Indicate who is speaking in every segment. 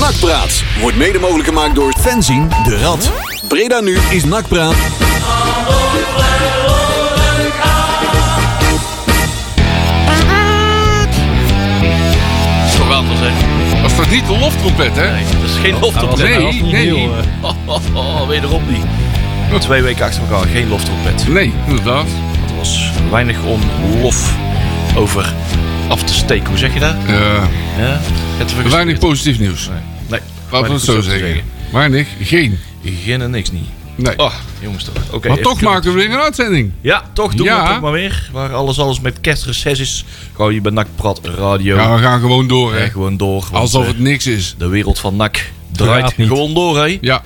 Speaker 1: Nakpraat wordt mede mogelijk gemaakt door fanzine de Rad. Breda nu is Nakpraat.
Speaker 2: Geweldig zeg.
Speaker 3: Was dat niet de loftrompet, hè?
Speaker 2: Nee, dat is geen loftrompet.
Speaker 3: Ah, Nee, nee.
Speaker 2: Oh, oh, oh, wederom niet. Twee weken achter elkaar, geen loftrompet.
Speaker 3: Nee, inderdaad.
Speaker 2: Er was weinig om lof over af te steken. Hoe zeg je dat?
Speaker 3: Eh,
Speaker 2: Ja? Het vergis-
Speaker 3: weinig positief nieuws.
Speaker 2: Nee.
Speaker 3: Laten we het zo zeggen. Weinig, geen.
Speaker 2: Geen en niks niet.
Speaker 3: Nee.
Speaker 2: Oh, jongens toch. Oké.
Speaker 3: maar
Speaker 2: even
Speaker 3: toch
Speaker 2: kunnen-
Speaker 3: maken we weer een uitzending.
Speaker 2: Ja, toch doen we
Speaker 3: Ja.
Speaker 2: het ook maar weer. Waar alles alles met kerstreces is. Gewoon hier bij NAC Prat Radio.
Speaker 3: Ja, we gaan gewoon door,
Speaker 2: En
Speaker 3: hè.
Speaker 2: gewoon door. want,
Speaker 3: Alsof
Speaker 2: eh,
Speaker 3: het niks is.
Speaker 2: De wereld van NAC draait
Speaker 4: Gaat niet.
Speaker 2: gewoon door, hè?
Speaker 3: Ja,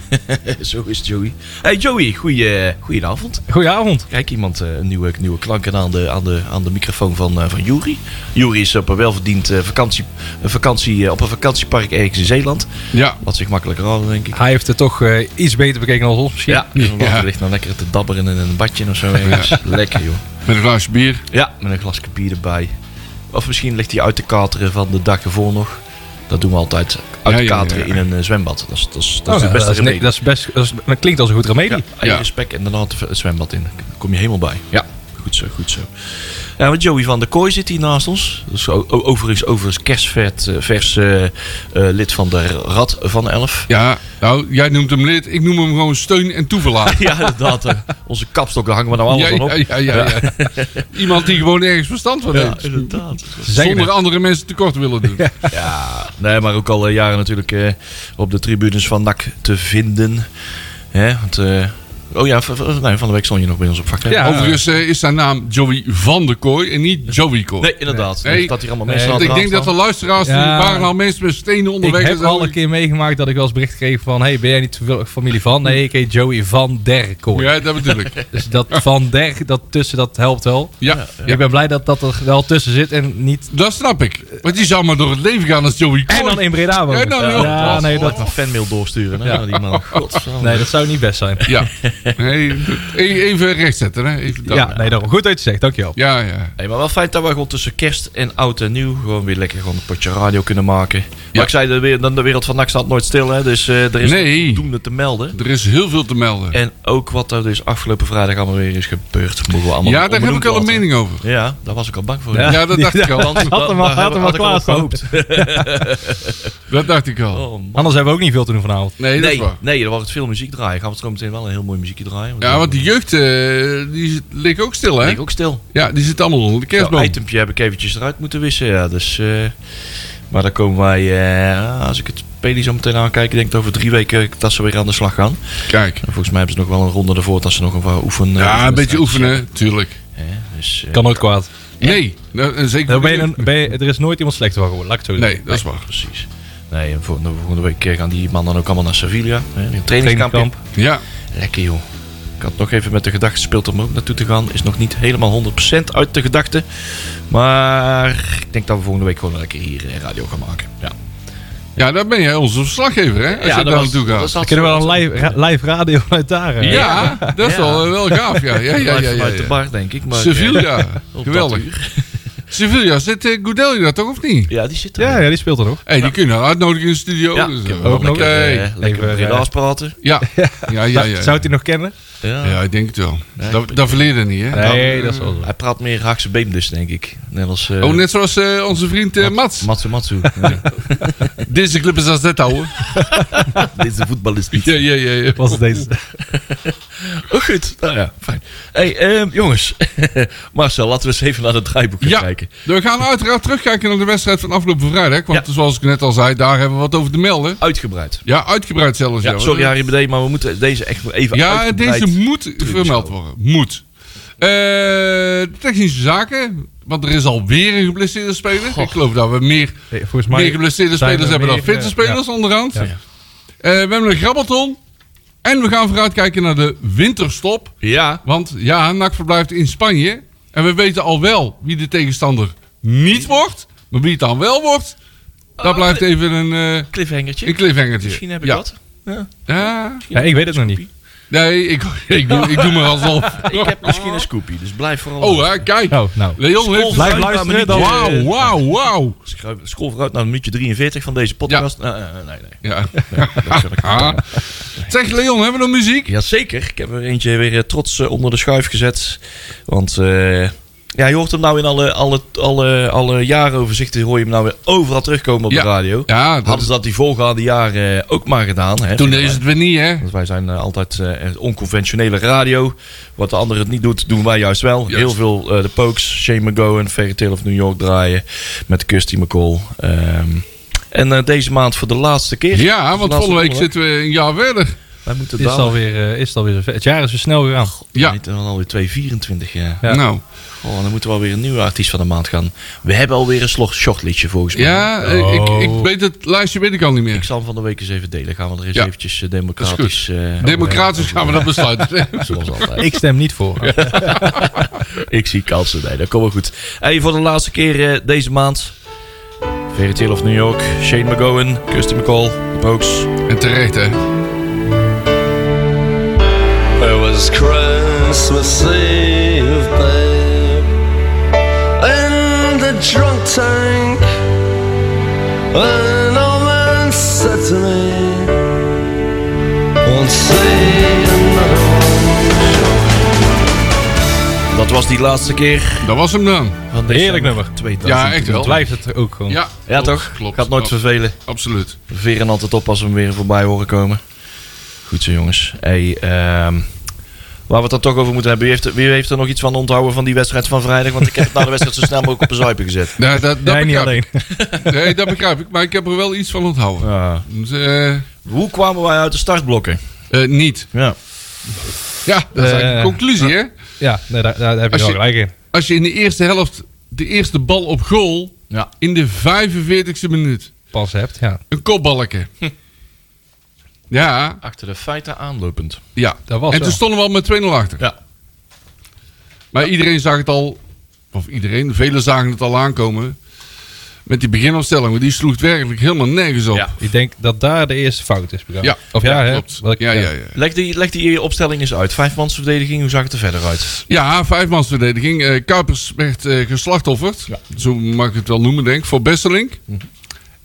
Speaker 2: Zo is het, Joey. Hey Joey, goeie, eh, goedenavond.
Speaker 4: Goedenavond.
Speaker 2: Kijk, iemand eh, een nieuwe, nieuwe klanken aan de, aan de, aan de microfoon van, eh van Juri. Juri is op een welverdiend eh, vakantie, een vakantie, eh, op een vakantiepark ergens in Zeeland.
Speaker 3: ja.
Speaker 2: Wat zich makkelijker hadden, denk ik.
Speaker 4: Hij heeft het toch eh, iets beter bekeken dan ons misschien.
Speaker 2: Ja, dus
Speaker 3: Ja.
Speaker 2: ligt nou lekker te dabberen in een badje of zo. ergens. Lekker, joh.
Speaker 3: Met een glaasje bier.
Speaker 2: Ja, met een glas bier erbij. Of misschien ligt hij uit te kateren van de dag ervoor nog. Dat doen we altijd. Uit
Speaker 3: Ja,
Speaker 2: te
Speaker 3: ja, ja,
Speaker 2: kateren
Speaker 3: ja.
Speaker 2: in een eh, zwembad. Dat is, dat is, dat
Speaker 4: Oh,
Speaker 2: is het
Speaker 4: nou,
Speaker 2: beste
Speaker 4: dat, is,
Speaker 2: remedie.
Speaker 4: nee, dat, is best, dat, is- dat klinkt als een goed
Speaker 2: Ja,
Speaker 4: remedie.
Speaker 2: eigen
Speaker 3: Ja.
Speaker 2: spek en daarna het, het zwembad in. Dan kom je helemaal bij. Ja. Goed zo, goed zo. Ja, want Joey van der Kooi zit hier naast ons. Dat is o- o- overigens, overigens kerstvers eh, vers, eh, eh, lid van de Rad van Elf.
Speaker 3: Ja, nou, jij noemt hem lid. Ik noem hem gewoon steun en toeverlaat.
Speaker 2: Ja, inderdaad. eh, onze kapstok, daar hangen we nou alles
Speaker 3: ja,
Speaker 2: van op.
Speaker 3: ja, ja, ja, ja. Iemand die gewoon ergens verstand van
Speaker 2: Ja,
Speaker 3: heeft.
Speaker 2: inderdaad.
Speaker 4: Zeggen
Speaker 3: Zonder andere mensen tekort willen doen.
Speaker 2: Ja, nee, maar ook al eh, jaren natuurlijk eh, op de tribunes van NAC te vinden. Hè, want, eh, oh ja, van, van- nee, van de week stond je nog bij ons op vak. hè?
Speaker 4: Ja.
Speaker 3: Overigens eh, is zijn naam Joey van der Kooi en niet Joey Kooi.
Speaker 2: Nee, inderdaad.
Speaker 3: Nee.
Speaker 2: Dus dat hier allemaal mensen
Speaker 4: Nee,
Speaker 2: aan
Speaker 3: Want
Speaker 2: het
Speaker 3: ik denk dat
Speaker 2: raam
Speaker 3: de luisteraars die
Speaker 4: Ja.
Speaker 3: waren al mensen met stenen
Speaker 4: Ik
Speaker 3: onderweg.
Speaker 4: heb
Speaker 3: en zo.
Speaker 4: al een keer meegemaakt dat ik wel eens bericht kreeg van... Hey, ben jij niet toevallig familie van? Nee, ik heet Joey van der Kooi.
Speaker 3: Ja, dat bedoel ik.
Speaker 4: Dus dat van der, dat tussen, dat helpt wel.
Speaker 3: Ja,
Speaker 4: Ik ben blij dat dat er wel tussen zit en niet...
Speaker 3: dat snap ik. Want die zou maar door het leven gaan als Joey Kooi.
Speaker 4: En dan in Breda wonen.
Speaker 3: Ja, nou,
Speaker 4: ja,
Speaker 3: joh.
Speaker 2: staan.
Speaker 4: nee,
Speaker 2: Laat
Speaker 4: dat,
Speaker 2: maar fanmail doorsturen. Hè, naar die man. Godverdomme.
Speaker 4: nee, dat zou niet best zijn.
Speaker 3: Ja. Nee, e- even rechtzetten. Hè. Even dat.
Speaker 4: Ja, nee, daarom. Goed dat je het zegt, dankjewel.
Speaker 3: ja, ja.
Speaker 2: Hey, maar wel fijn dat we gewoon tussen kerst en oud en nieuw gewoon weer lekker gewoon een potje radio kunnen maken. Maar
Speaker 3: Ja.
Speaker 2: ik zei, de, we- dan de wereld van NAC staat nooit stil, hè, dus eh, er is
Speaker 3: Nee.
Speaker 2: voldoende te melden.
Speaker 3: Er is heel veel te melden.
Speaker 2: En ook wat er dus afgelopen vrijdag allemaal weer is gebeurd, moeten we allemaal
Speaker 3: Ja, daar heb
Speaker 2: onbenoemd
Speaker 3: ik al een
Speaker 2: laten.
Speaker 3: mening over.
Speaker 2: Ja, daar was ik al bang voor.
Speaker 4: Ja.
Speaker 3: Ja, dat dacht ik al.
Speaker 2: Want
Speaker 4: Had hem
Speaker 2: da-
Speaker 4: al-
Speaker 2: daar
Speaker 4: had hem al
Speaker 2: ik al op
Speaker 4: klaarstaan.
Speaker 2: gehoopt.
Speaker 3: Dat dacht ik al.
Speaker 2: Oh, man.
Speaker 4: Anders hebben we ook niet veel te doen vanavond.
Speaker 3: Nee, dat is
Speaker 2: Nee,
Speaker 3: waar.
Speaker 2: nee, er wordt veel muziek draaien. Gaan we zo meteen wel een heel mooi muziekje draaien.
Speaker 3: Ja, want die jeugd, eh, die zit- liggen ook stil, hè?
Speaker 2: Ik ook stil.
Speaker 3: Ja, die zit allemaal onder de
Speaker 2: Dat
Speaker 3: kerstboom.
Speaker 2: itempje heb ik eventjes eruit moeten wissen, ja. Dus, eh, maar dan komen wij, eh, als ik het peli zo meteen aankijk, denk ik dat over drie weken dat ze weer aan de slag gaan.
Speaker 3: Kijk.
Speaker 2: En volgens mij hebben ze nog wel een ronde ervoor dat ze nog een paar oefen...
Speaker 3: Ja, een beetje
Speaker 2: oefenen.
Speaker 3: oefenen, tuurlijk.
Speaker 2: dus, eh,
Speaker 4: Kan nooit kwaad.
Speaker 3: Nee, dat- en zeker
Speaker 4: Dan ben je
Speaker 3: niet.
Speaker 4: een- ben je- er is nooit iemand slecht van geworden, laat ik het zo zeggen.
Speaker 3: Nee, dat is waar.
Speaker 2: Precies. Nee, en volgende, volgende week eh, gaan die mannen ook allemaal naar Sevilla. Hè, een trainingskamp. in.
Speaker 4: Trainingskamp.
Speaker 3: Ja,
Speaker 2: Lekker joh. Ik had nog even met de gedachte gespeeld om er ook naartoe te gaan. Is nog niet helemaal 100% uit de gedachte. Maar ik denk dat we volgende week gewoon lekker hier eh, radio gaan maken. Ja,
Speaker 3: ja daar ben jij onze verslaggever, hè? Als je daar naartoe gaat.
Speaker 4: Dan kunnen we wel een live, ra- live radio uit daar. eh.
Speaker 3: Ja, dat is
Speaker 2: Ja.
Speaker 3: wel, eh, wel gaaf, ja. ja, ja, ja, ja,
Speaker 2: vanuit
Speaker 3: ja.
Speaker 2: de bar, denk ik. Maar, eh,
Speaker 3: Sevilla,
Speaker 2: op dat
Speaker 3: geweldig.
Speaker 2: uur.
Speaker 3: Sevilla, zit eh, Goudelje daar toch of niet?
Speaker 2: Ja, die zit er.
Speaker 4: Ja, ja, die speelt er nog.
Speaker 3: Hé, die kunnen uitnodigen in de studio.
Speaker 2: Ja,
Speaker 3: dus,
Speaker 2: kunnen we
Speaker 3: eh,
Speaker 2: wel
Speaker 4: ook nog.
Speaker 2: lekker, eh,
Speaker 3: Oké.
Speaker 2: lekker
Speaker 4: Even,
Speaker 2: met
Speaker 4: eh,
Speaker 2: Breda's praten.
Speaker 3: Ja, ja, ja,
Speaker 4: Zou-
Speaker 3: ja.
Speaker 4: Zou het die nog kennen?
Speaker 2: Ja.
Speaker 3: Ja, ik denk het wel. Dat, dat verleer je niet, hè?
Speaker 4: Nee, dat is wel zo.
Speaker 2: Hij praat meer Haagse beemdus, denk ik. Net als eh,
Speaker 3: Oh, net zoals eh, onze vriend eh, Mats.
Speaker 2: Matsu Matsu. Ja.
Speaker 3: Deze club is als dit, ouwe.
Speaker 2: Deze voetbal is niet.
Speaker 3: Ja, ja, ja. ja.
Speaker 4: Was het deze?
Speaker 2: Oh, goed. Nou ja, fijn. hey, ehm, jongens. Marcel, laten we eens even naar het draaiboek gaan
Speaker 3: Ja,
Speaker 2: kijken.
Speaker 3: we gaan uiteraard terugkijken naar de wedstrijd van afgelopen vrijdag. Want zoals ik net al zei, daar hebben we wat over te melden.
Speaker 2: Uitgebreid.
Speaker 3: Ja, uitgebreid zelfs.
Speaker 2: Ja, eh, sorry Harry BD, maar we moeten deze echt nog even
Speaker 3: Ja,
Speaker 2: uitgebreid...
Speaker 3: deze moet vermeld worden. Moet. Eh, de technische zaken. Want er is alweer een geblesseerde speler. Ik geloof dat we meer,
Speaker 4: Nee, volgens
Speaker 3: meer
Speaker 4: mij.
Speaker 3: geblesseerde
Speaker 4: zijn
Speaker 3: spelers
Speaker 4: er
Speaker 3: hebben dan
Speaker 4: meer,
Speaker 3: fitte
Speaker 4: eh,
Speaker 3: spelers onderhand.
Speaker 4: Ja.
Speaker 3: Eh, we hebben een grabbelton. En we gaan vooruitkijken naar de winterstop.
Speaker 2: Ja.
Speaker 3: Want ja, NAC verblijft in Spanje. En we weten al wel wie de tegenstander niet wordt. Maar wie het dan wel wordt,
Speaker 4: Oh,
Speaker 3: dat blijft even een, eh
Speaker 2: Cliffhangertje.
Speaker 3: een cliffhangertje.
Speaker 2: Misschien heb ik
Speaker 3: ja.
Speaker 2: dat.
Speaker 3: Ja,
Speaker 4: Ja, ik weet het nog niet.
Speaker 3: Nee, ik, ik, doe, ik doe maar alsof.
Speaker 2: Ik heb misschien een scoopie, dus blijf vooral.
Speaker 3: Oh, hè, kijk.
Speaker 4: Oh, nou.
Speaker 3: Leon heeft...
Speaker 4: Blijf
Speaker 2: Schuif naar
Speaker 4: luisteren dan. eh,
Speaker 2: minuutje-
Speaker 3: Wauw, wauw, wauw.
Speaker 2: Schuif- Scroll vooruit naar minuutje 43 van deze podcast. Eh, eh, nee, nee.
Speaker 3: Ja.
Speaker 2: Dat kan ik
Speaker 3: Ah. Zeg Leon, hebben we nog muziek?
Speaker 2: Jazeker. Ik heb er eentje weer eh, trots eh, onder de schuif gezet. Want eh, ja, je hoort hem nou in alle, alle, alle, alle jarenoverzichten. Hoor je hem nou weer overal terugkomen op
Speaker 3: Ja.
Speaker 2: de radio.
Speaker 3: Ja, dat-
Speaker 2: Hadden ze dat die voorgaande jaren eh, ook maar gedaan. Hè,
Speaker 3: toen is het weer niet, hè?
Speaker 2: Want wij zijn eh, altijd eh, onconventionele radio. Wat de anderen het niet doet, doen wij juist wel.
Speaker 3: Juist.
Speaker 2: Heel veel eh, de Pokes, Shane McGowan, Fairy Tale of New York draaien. Met Kirsty McCall. Ehm, en eh, deze maand voor de laatste keer.
Speaker 3: Ja, want
Speaker 2: Laatste
Speaker 3: volgende week
Speaker 2: donderdag.
Speaker 3: zitten we een jaar verder.
Speaker 2: Wij moeten
Speaker 4: Is het,
Speaker 2: daar
Speaker 4: alweer, eh, is het alweer zover? Het jaar is weer snel weer aan.
Speaker 3: Ja.
Speaker 2: Niet, dan alweer 224 jaar.
Speaker 4: Ja.
Speaker 3: Nou,
Speaker 2: Oh, dan moeten we alweer een nieuwe artiest van de maand gaan. We hebben alweer een slog- shortliedje volgens mij.
Speaker 3: ja, eh,
Speaker 4: Oh.
Speaker 3: ik, ik weet het lijstje weet ik al niet
Speaker 2: Ik
Speaker 3: meer.
Speaker 2: zal hem van de week eens even delen. Gaan we er eens
Speaker 3: Ja.
Speaker 2: eventjes eh, democratisch... eh,
Speaker 3: Democratisch gaan we dat besluiten.
Speaker 2: Zoals altijd.
Speaker 4: Ik stem niet voor.
Speaker 2: Ik zie kansen. Nee, dat komt wel goed. Hey, voor de laatste keer eh, deze maand. Fairy Tale of New York. Shane McGowan. Kirsty McCall. De Pokes.
Speaker 3: en terecht, hè?
Speaker 5: It was Christmas Eve, babe. In the drunk tank, an old man said to me, Won't see another
Speaker 2: Dat was die laatste keer.
Speaker 3: Dat was hem dan.
Speaker 2: Van deze
Speaker 4: Heerlijk nummer.
Speaker 2: 2000.
Speaker 3: Ja, echt wel.
Speaker 4: Blijft het ook gewoon.
Speaker 3: Ja,
Speaker 2: Ja, toch? Gaat nooit
Speaker 3: Ab-
Speaker 2: vervelen.
Speaker 3: Absoluut.
Speaker 2: We Veren altijd op als we hem weer voorbij horen komen. Goed zo, jongens. Hey, ehm, waar we het dan toch over moeten hebben. Wie heeft, wie heeft er nog iets van onthouden van die wedstrijd van vrijdag? Want ik heb het na de wedstrijd zo snel mogelijk op een zuipen gezet.
Speaker 3: Nee, dat, dat
Speaker 4: Jij niet
Speaker 3: begrijp
Speaker 4: alleen.
Speaker 3: ik. Nee, dat begrijp ik. Maar ik heb er wel iets van onthouden.
Speaker 2: Ja.
Speaker 3: Dus, eh,
Speaker 2: Hoe kwamen wij uit de startblokken?
Speaker 3: eh, niet.
Speaker 2: Ja.
Speaker 3: Ja, dat is
Speaker 4: Eh,
Speaker 3: eigenlijk de conclusie, hè?
Speaker 4: Ja, nee, daar, daar heb je
Speaker 3: Als
Speaker 4: wel
Speaker 3: je-
Speaker 4: gelijk in.
Speaker 3: Als je in de eerste helft de eerste bal op goal
Speaker 2: Ja.
Speaker 3: in de 45e minuut
Speaker 4: Pas hebt, ja.
Speaker 3: een kopbalken.
Speaker 4: Hm.
Speaker 3: Ja,
Speaker 2: Achter de feiten aanlopend.
Speaker 3: ja.
Speaker 4: Dat was
Speaker 3: en
Speaker 4: zo.
Speaker 3: toen stonden we al met 2-0 achter.
Speaker 2: Ja.
Speaker 3: Maar iedereen zag het al, of iedereen, velen zagen het al aankomen. Met die beginopstelling, want die sloeg werkelijk helemaal nergens op.
Speaker 2: Ja.
Speaker 4: Ik denk dat daar de eerste fout is begaan.
Speaker 3: Ja.
Speaker 4: Of ja, hè?
Speaker 3: klopt.
Speaker 4: Wat ik-
Speaker 3: ja, ja, ja.
Speaker 2: Leg die, leg die opstelling eens uit. Vijfmansverdediging, hoe zag het er verder uit?
Speaker 3: Ja, vijfmansverdediging. Eh, Kuipers werd eh, geslachtofferd. Zo mag ik het wel noemen, denk ik. Voor Besselink.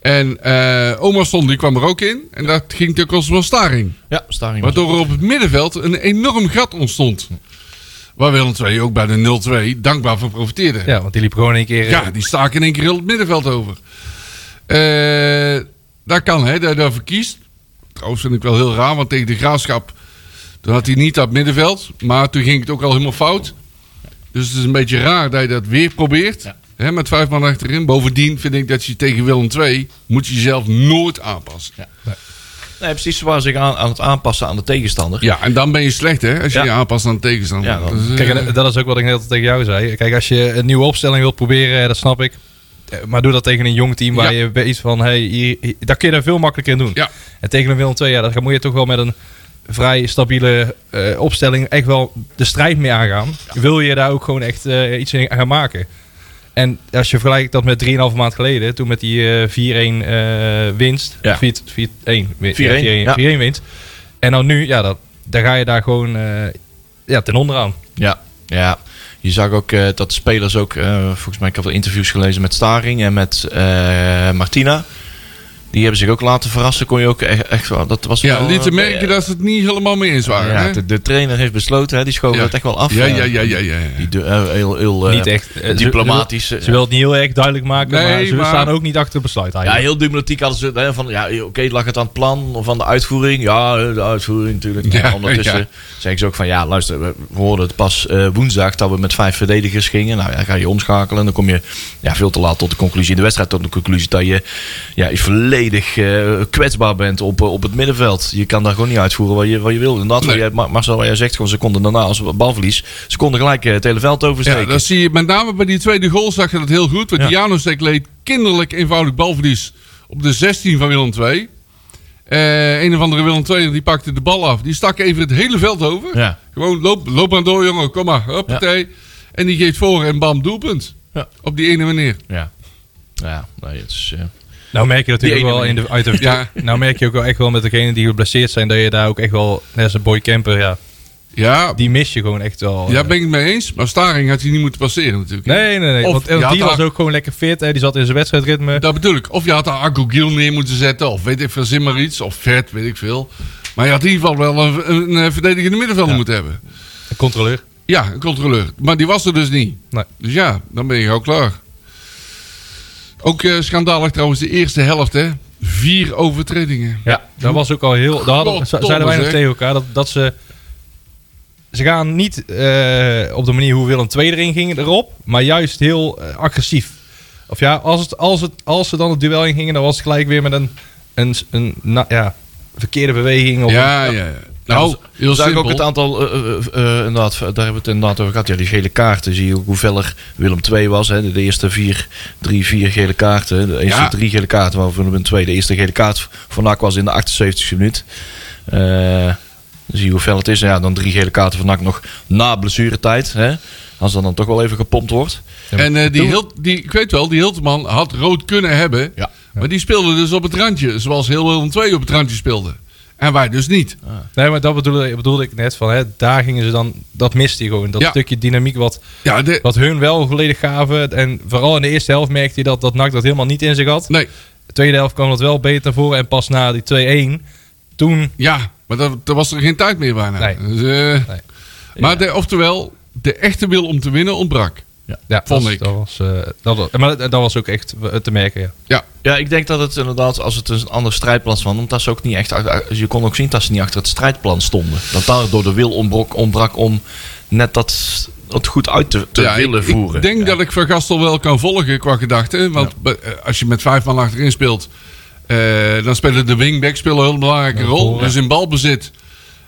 Speaker 3: En eh Omarsson die kwam er ook in. En dat ging ten koste van Staring.
Speaker 2: Ja, Staring was
Speaker 3: Waardoor er op het middenveld een enorm gat ontstond. Waar Willem II ook bij de 0-2 dankbaar van profiteerde.
Speaker 4: Ja, want die liep gewoon een keer... eh,
Speaker 3: Ja, die staken in één keer heel het middenveld over. Eh dat kan, hè, dat hij daarvoor kiest. Trouwens vind ik wel heel raar, want tegen de Graafschap... toen had hij niet dat middenveld, maar toen ging het ook al helemaal fout. Dus het is een beetje raar dat je dat weer probeert. Hè, met vijf man achterin. Bovendien vind ik dat je tegen Willem II... moet je jezelf nooit aanpassen. Ja,
Speaker 2: Nee, precies. Ze waren zich aan, aan het aanpassen aan de tegenstander.
Speaker 3: en dan ben je slecht, hè, als je
Speaker 2: Ja.
Speaker 3: je aanpast aan de tegenstander.
Speaker 2: Ja, dan-
Speaker 3: Dus, eh,
Speaker 4: Kijk, en dat is ook wat ik net al tegen jou zei. Kijk, als je een nieuwe opstelling wilt proberen, eh, dat snap ik. Eh, Maar doe dat tegen een jong team waar
Speaker 3: Ja.
Speaker 4: je weet van, hey, hier, hier- daar kun je daar veel makkelijker in doen.
Speaker 3: ja.
Speaker 4: En tegen een Willem II, ja, daar moet je toch wel met een vrij stabiele eh, opstelling echt wel de strijd mee aangaan. Wil je daar ook gewoon echt eh, iets in gaan maken? En als je vergelijkt dat met 3,5 maand geleden, toen met die eh, 4-1 eh, winst,
Speaker 2: Ja.
Speaker 4: 4-1 win- ja,
Speaker 2: 4-1,
Speaker 4: 4-1
Speaker 2: ja.
Speaker 4: 4-1 winst. En dan nu, ja, dat, daar ga je daar gewoon eh, ja, ten onder aan.
Speaker 2: Ja, ja. Je zag ook eh, dat de spelers ook, eh, volgens mij, ik heb wel interviews gelezen met Staring en met eh, Martina. Die hebben zich ook laten verrassen. Kon je ook echt, echt wel, dat was
Speaker 3: ja
Speaker 2: wel,
Speaker 3: lieten
Speaker 2: eh,
Speaker 3: merken dat ze het niet helemaal mee eens waren.
Speaker 2: ja,
Speaker 3: hè?
Speaker 2: de, de trainer heeft besloten, hè, die schoven
Speaker 3: Ja.
Speaker 2: dat echt wel af.
Speaker 3: ja,
Speaker 2: eh,
Speaker 3: ja, ja, ja, ja. ja.
Speaker 2: Die, de- eh, heel, heel, eh,
Speaker 4: niet echt eh, ze-
Speaker 2: diplomatisch.
Speaker 4: Ze,
Speaker 2: eh,
Speaker 4: ze wil het niet heel erg duidelijk maken,
Speaker 3: Nee,
Speaker 4: maar ze
Speaker 3: maar-
Speaker 4: staan ook niet achter het besluit
Speaker 2: Ah, Ja,
Speaker 4: eigenlijk.
Speaker 2: heel diplomatiek hadden ze hè, van, ja, oké, lag het aan het plan of aan de uitvoering? Ja, eh, de uitvoering natuurlijk.
Speaker 3: Ja,
Speaker 2: En ondertussen
Speaker 3: ja.
Speaker 2: zeggen ze ook van, ja, luister, we we hoorden het pas eh, woensdag dat we met vijf verdedigers gingen. Nou ja, ga je omschakelen en dan kom je ja, veel te laat tot de conclusie in de wedstrijd, tot de conclusie dat je ja, je volledig eh, kwetsbaar bent op, eh, op het middenveld. Je kan daar gewoon niet uitvoeren wat je, wat je wil. Inderdaad, wat
Speaker 3: Nee.
Speaker 2: jij- Ma- Marcel, wat jij zegt, gewoon seconden daarna als balverlies, ze konden gelijk eh, het hele veld
Speaker 3: Ja,
Speaker 2: oversteken.
Speaker 3: dat zie je met name bij die tweede goal zag je dat heel goed. Want Janosek leed kinderlijk eenvoudig balverlies op de 16 van Willem II. Eh, een of andere Willem II die pakte de bal af. Die stak even het hele veld over.
Speaker 2: Ja.
Speaker 3: Gewoon loop, loop maar door jongen, kom maar. Hoppatee. En die geeft voor en bam, doelpunt.
Speaker 2: Ja.
Speaker 3: Op die ene manier.
Speaker 2: Ja. Ja, nee, het is, eh,
Speaker 4: Nou merk je natuurlijk
Speaker 2: Die
Speaker 4: ook wel
Speaker 2: ene
Speaker 4: in de, uit de
Speaker 3: Ja.
Speaker 4: Nou merk je ook wel echt wel met degenen die geblesseerd zijn, dat je daar ook echt wel, net als een boy camper, ja,
Speaker 3: Ja,
Speaker 4: die mis je gewoon echt wel.
Speaker 3: ja
Speaker 4: eh.
Speaker 3: ben ik het mee eens. Maar Staring had hij niet moeten passeren natuurlijk.
Speaker 4: Nee, nee, nee.
Speaker 3: Of
Speaker 4: want
Speaker 3: je had
Speaker 4: want die was
Speaker 3: daar-
Speaker 4: ook gewoon lekker fit. Hè. Die zat in zijn wedstrijdritme.
Speaker 3: Dat bedoel ik. Of je had daar Argo Giel neer moeten zetten. Of weet ik veel, zin maar iets. Of Vet, weet ik veel. Maar je had in ieder geval wel een, een, een verdedigende middenvelder moeten hebben.
Speaker 4: De controleur.
Speaker 3: Ja, een controleur. Maar die was er dus niet.
Speaker 4: Nee.
Speaker 3: Dus ja, dan ben je ook klaar. Ook eh, schandalig trouwens de eerste helft, hè. Vier overtredingen.
Speaker 4: Ja, dat was ook al heel... Daar hadden,
Speaker 3: Goddomme,
Speaker 4: zeiden wij nog
Speaker 3: zeg.
Speaker 4: tegen elkaar dat, dat ze... Ze gaan niet eh, op de manier hoe Willem II erin ging erop, maar juist heel eh, agressief. Of ja, als, het, als, het, als ze dan het duel in gingen, dan was het gelijk weer met een, een, een nou ja, verkeerde beweging. Of
Speaker 3: Ja, ja, ja. Nou, heel
Speaker 2: zag ik
Speaker 3: simpel.
Speaker 2: ook het aantal, eh, eh, eh, inderdaad, daar hebben we het inderdaad over gehad. Ja, die gele kaarten zie je ook hoe veller Willem II was. Hè. De, de eerste vier, drie, vier gele kaarten. De eerste
Speaker 3: Ja.
Speaker 2: drie gele kaarten waarvan Willem II de eerste gele kaart van Ak was in de 78e minuut. Eh, dan zie je hoe fel het is. En Ja, dan drie gele kaarten van Ak nog na blessuretijd. Hè. Als dat dan toch wel even gepompt wordt.
Speaker 3: En eh, die Hilt, die, ik weet wel, die Hiltman had rood kunnen hebben.
Speaker 2: Ja.
Speaker 3: Maar die speelde dus op het randje. Zoals heel Willem II op het randje speelde. En wij dus niet.
Speaker 4: Nee, maar dat bedoelde, bedoelde ik net van, hè, daar gingen ze dan, dat miste je gewoon. Dat
Speaker 3: Ja.
Speaker 4: stukje dynamiek wat,
Speaker 3: Ja, de-
Speaker 4: wat hun wel volledig gaven. En vooral in de eerste helft merkte je dat, dat NAC dat helemaal niet in zich had.
Speaker 3: nee,
Speaker 4: De tweede helft kwam dat wel beter naar voren. En pas na die 2-1, toen...
Speaker 3: ja. Maar dat, er was er geen tijd meer bijna.
Speaker 4: Nee.
Speaker 3: Dus, eh,
Speaker 4: Nee.
Speaker 3: Maar de, oftewel, de echte wil om te winnen ontbrak.
Speaker 4: Ja,
Speaker 3: Vond
Speaker 4: dat,
Speaker 3: ik.
Speaker 4: Dat was, eh, dat, was- maar dat, dat was ook echt eh, te merken, ja.
Speaker 3: Ja,
Speaker 2: Ja, ik denk dat het inderdaad, als het een ander strijdplan was, want dat ze ook niet echt, achter- je kon ook zien dat ze niet achter het strijdplan stonden. Dat daar door de wil ontbrok, ontbrak om net dat het goed uit te, te
Speaker 3: ja, ik-
Speaker 2: willen
Speaker 3: ik,
Speaker 2: voeren.
Speaker 3: denk
Speaker 2: Ja.
Speaker 3: dat ik Van Gastel wel kan volgen qua gedachte. Want be- eh, als je met vijf man achterin speelt, eh, dan spelen de wingbacks spelen een heel belangrijke rol. Dus in balbezit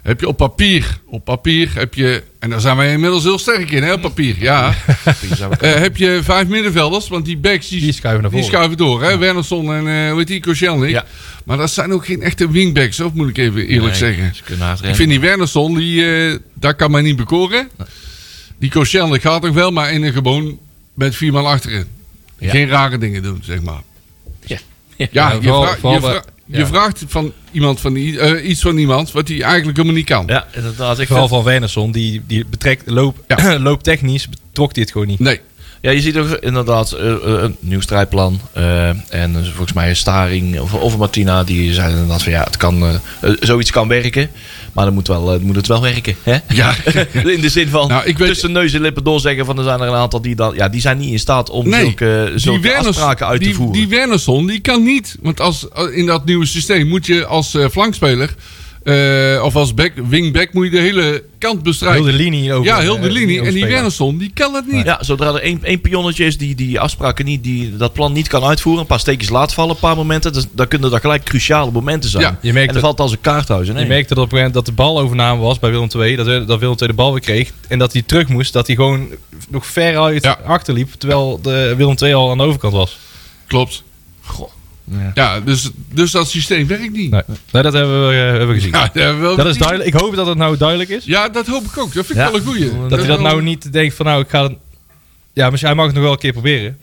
Speaker 3: heb je op papier, op papier heb je, en daar zijn wij inmiddels heel sterk in, hè, op papier, ja. Eh, heb je vijf middenvelders, want die backs die,
Speaker 4: Die schuiven naar
Speaker 3: die
Speaker 4: voren.
Speaker 3: schuiven door. Hè? Wernersson en eh hoe heet die, Koscielny.
Speaker 2: Ja.
Speaker 3: Maar dat zijn ook geen echte wingbacks, hoor, moet ik even eerlijk
Speaker 2: Nee,
Speaker 3: zeggen.
Speaker 2: ze kunnen hard
Speaker 3: Ik
Speaker 2: rennen.
Speaker 3: vind die Wernersson, die, eh, daar kan mij niet bekoren. Die Koscielny gaat toch wel, maar in een gewoon met vier man achterin.
Speaker 2: Ja.
Speaker 3: Geen rare dingen doen, zeg maar.
Speaker 2: Ja.
Speaker 3: Ja,
Speaker 4: Ja,
Speaker 3: je,
Speaker 4: vooral-
Speaker 3: vra-
Speaker 4: vooral
Speaker 3: je, vra-
Speaker 4: bij-
Speaker 3: je
Speaker 4: ja.
Speaker 3: vraagt van iemand van die, eh, iets van iemand wat hij eigenlijk helemaal niet kan.
Speaker 2: Ja, inderdaad. Ik
Speaker 4: Vooral
Speaker 2: vind-
Speaker 4: van Wernersson, die, die betrekt loop,
Speaker 3: Ja.
Speaker 4: looptechnisch betrok hij het gewoon niet.
Speaker 3: Nee.
Speaker 2: ja, je ziet ook inderdaad eh, eh, een nieuw strijdplan. eh, en eh, volgens mij Staring of, of Martina, die zeiden inderdaad van ja, het kan, eh, eh, zoiets kan werken. Maar dan moet, wel, eh, moet het wel werken. Hè?
Speaker 3: Ja.
Speaker 2: In de zin van
Speaker 3: Nou, ik weet-
Speaker 2: tussen neus en lippen door zeggen van er zijn er een aantal die dan, ja, die zijn niet in staat om
Speaker 3: Nee,
Speaker 2: zulke, eh, zulke
Speaker 3: Werners-
Speaker 2: afspraken uit
Speaker 3: die,
Speaker 2: te voeren.
Speaker 3: Die Wernersson, die kan niet. Want als, eh, in dat nieuwe systeem moet je als eh, flankspeler... eh, of als back, wingback moet je de hele kant bestrijden.
Speaker 4: Heel de linie over.
Speaker 3: ja, heel de
Speaker 4: eh,
Speaker 3: linie. En die
Speaker 4: overspelen.
Speaker 3: Wernersson, die kan dat niet.
Speaker 2: ja, zodra er één, één pionnetje is die die afspraken niet, die dat plan niet kan uitvoeren, een paar steekjes laat vallen, een paar momenten, dus, dan kunnen dat gelijk cruciale momenten zijn.
Speaker 3: Ja,
Speaker 4: je merkt
Speaker 2: en dat
Speaker 4: dat-
Speaker 2: valt als een kaarthuis. Nee.
Speaker 4: Je merkte dat op een gegeven moment dat de bal overname was bij Willem II. Dat, dat Willem II de bal weer kreeg. En dat hij terug moest. Dat hij gewoon nog ver uit
Speaker 3: Ja.
Speaker 4: achterliep. Terwijl de Willem II al aan de overkant was.
Speaker 3: Klopt.
Speaker 2: Goh.
Speaker 4: Ja.
Speaker 3: Ja, dus, dus dat systeem werkt niet.
Speaker 4: Nee, nee, dat hebben we, eh, hebben we gezien.
Speaker 3: Ja, dat hebben we wel
Speaker 4: Dat is
Speaker 3: gezien.
Speaker 4: duidelijk. Ik hoop dat het nou duidelijk is.
Speaker 3: Ja, dat hoop ik ook. Dat vind ik
Speaker 2: Ja.
Speaker 3: wel een goeie.
Speaker 4: Dat hij dat nou niet denkt van nou ik ga... het- Ja, misschien hij mag het nog wel een keer proberen.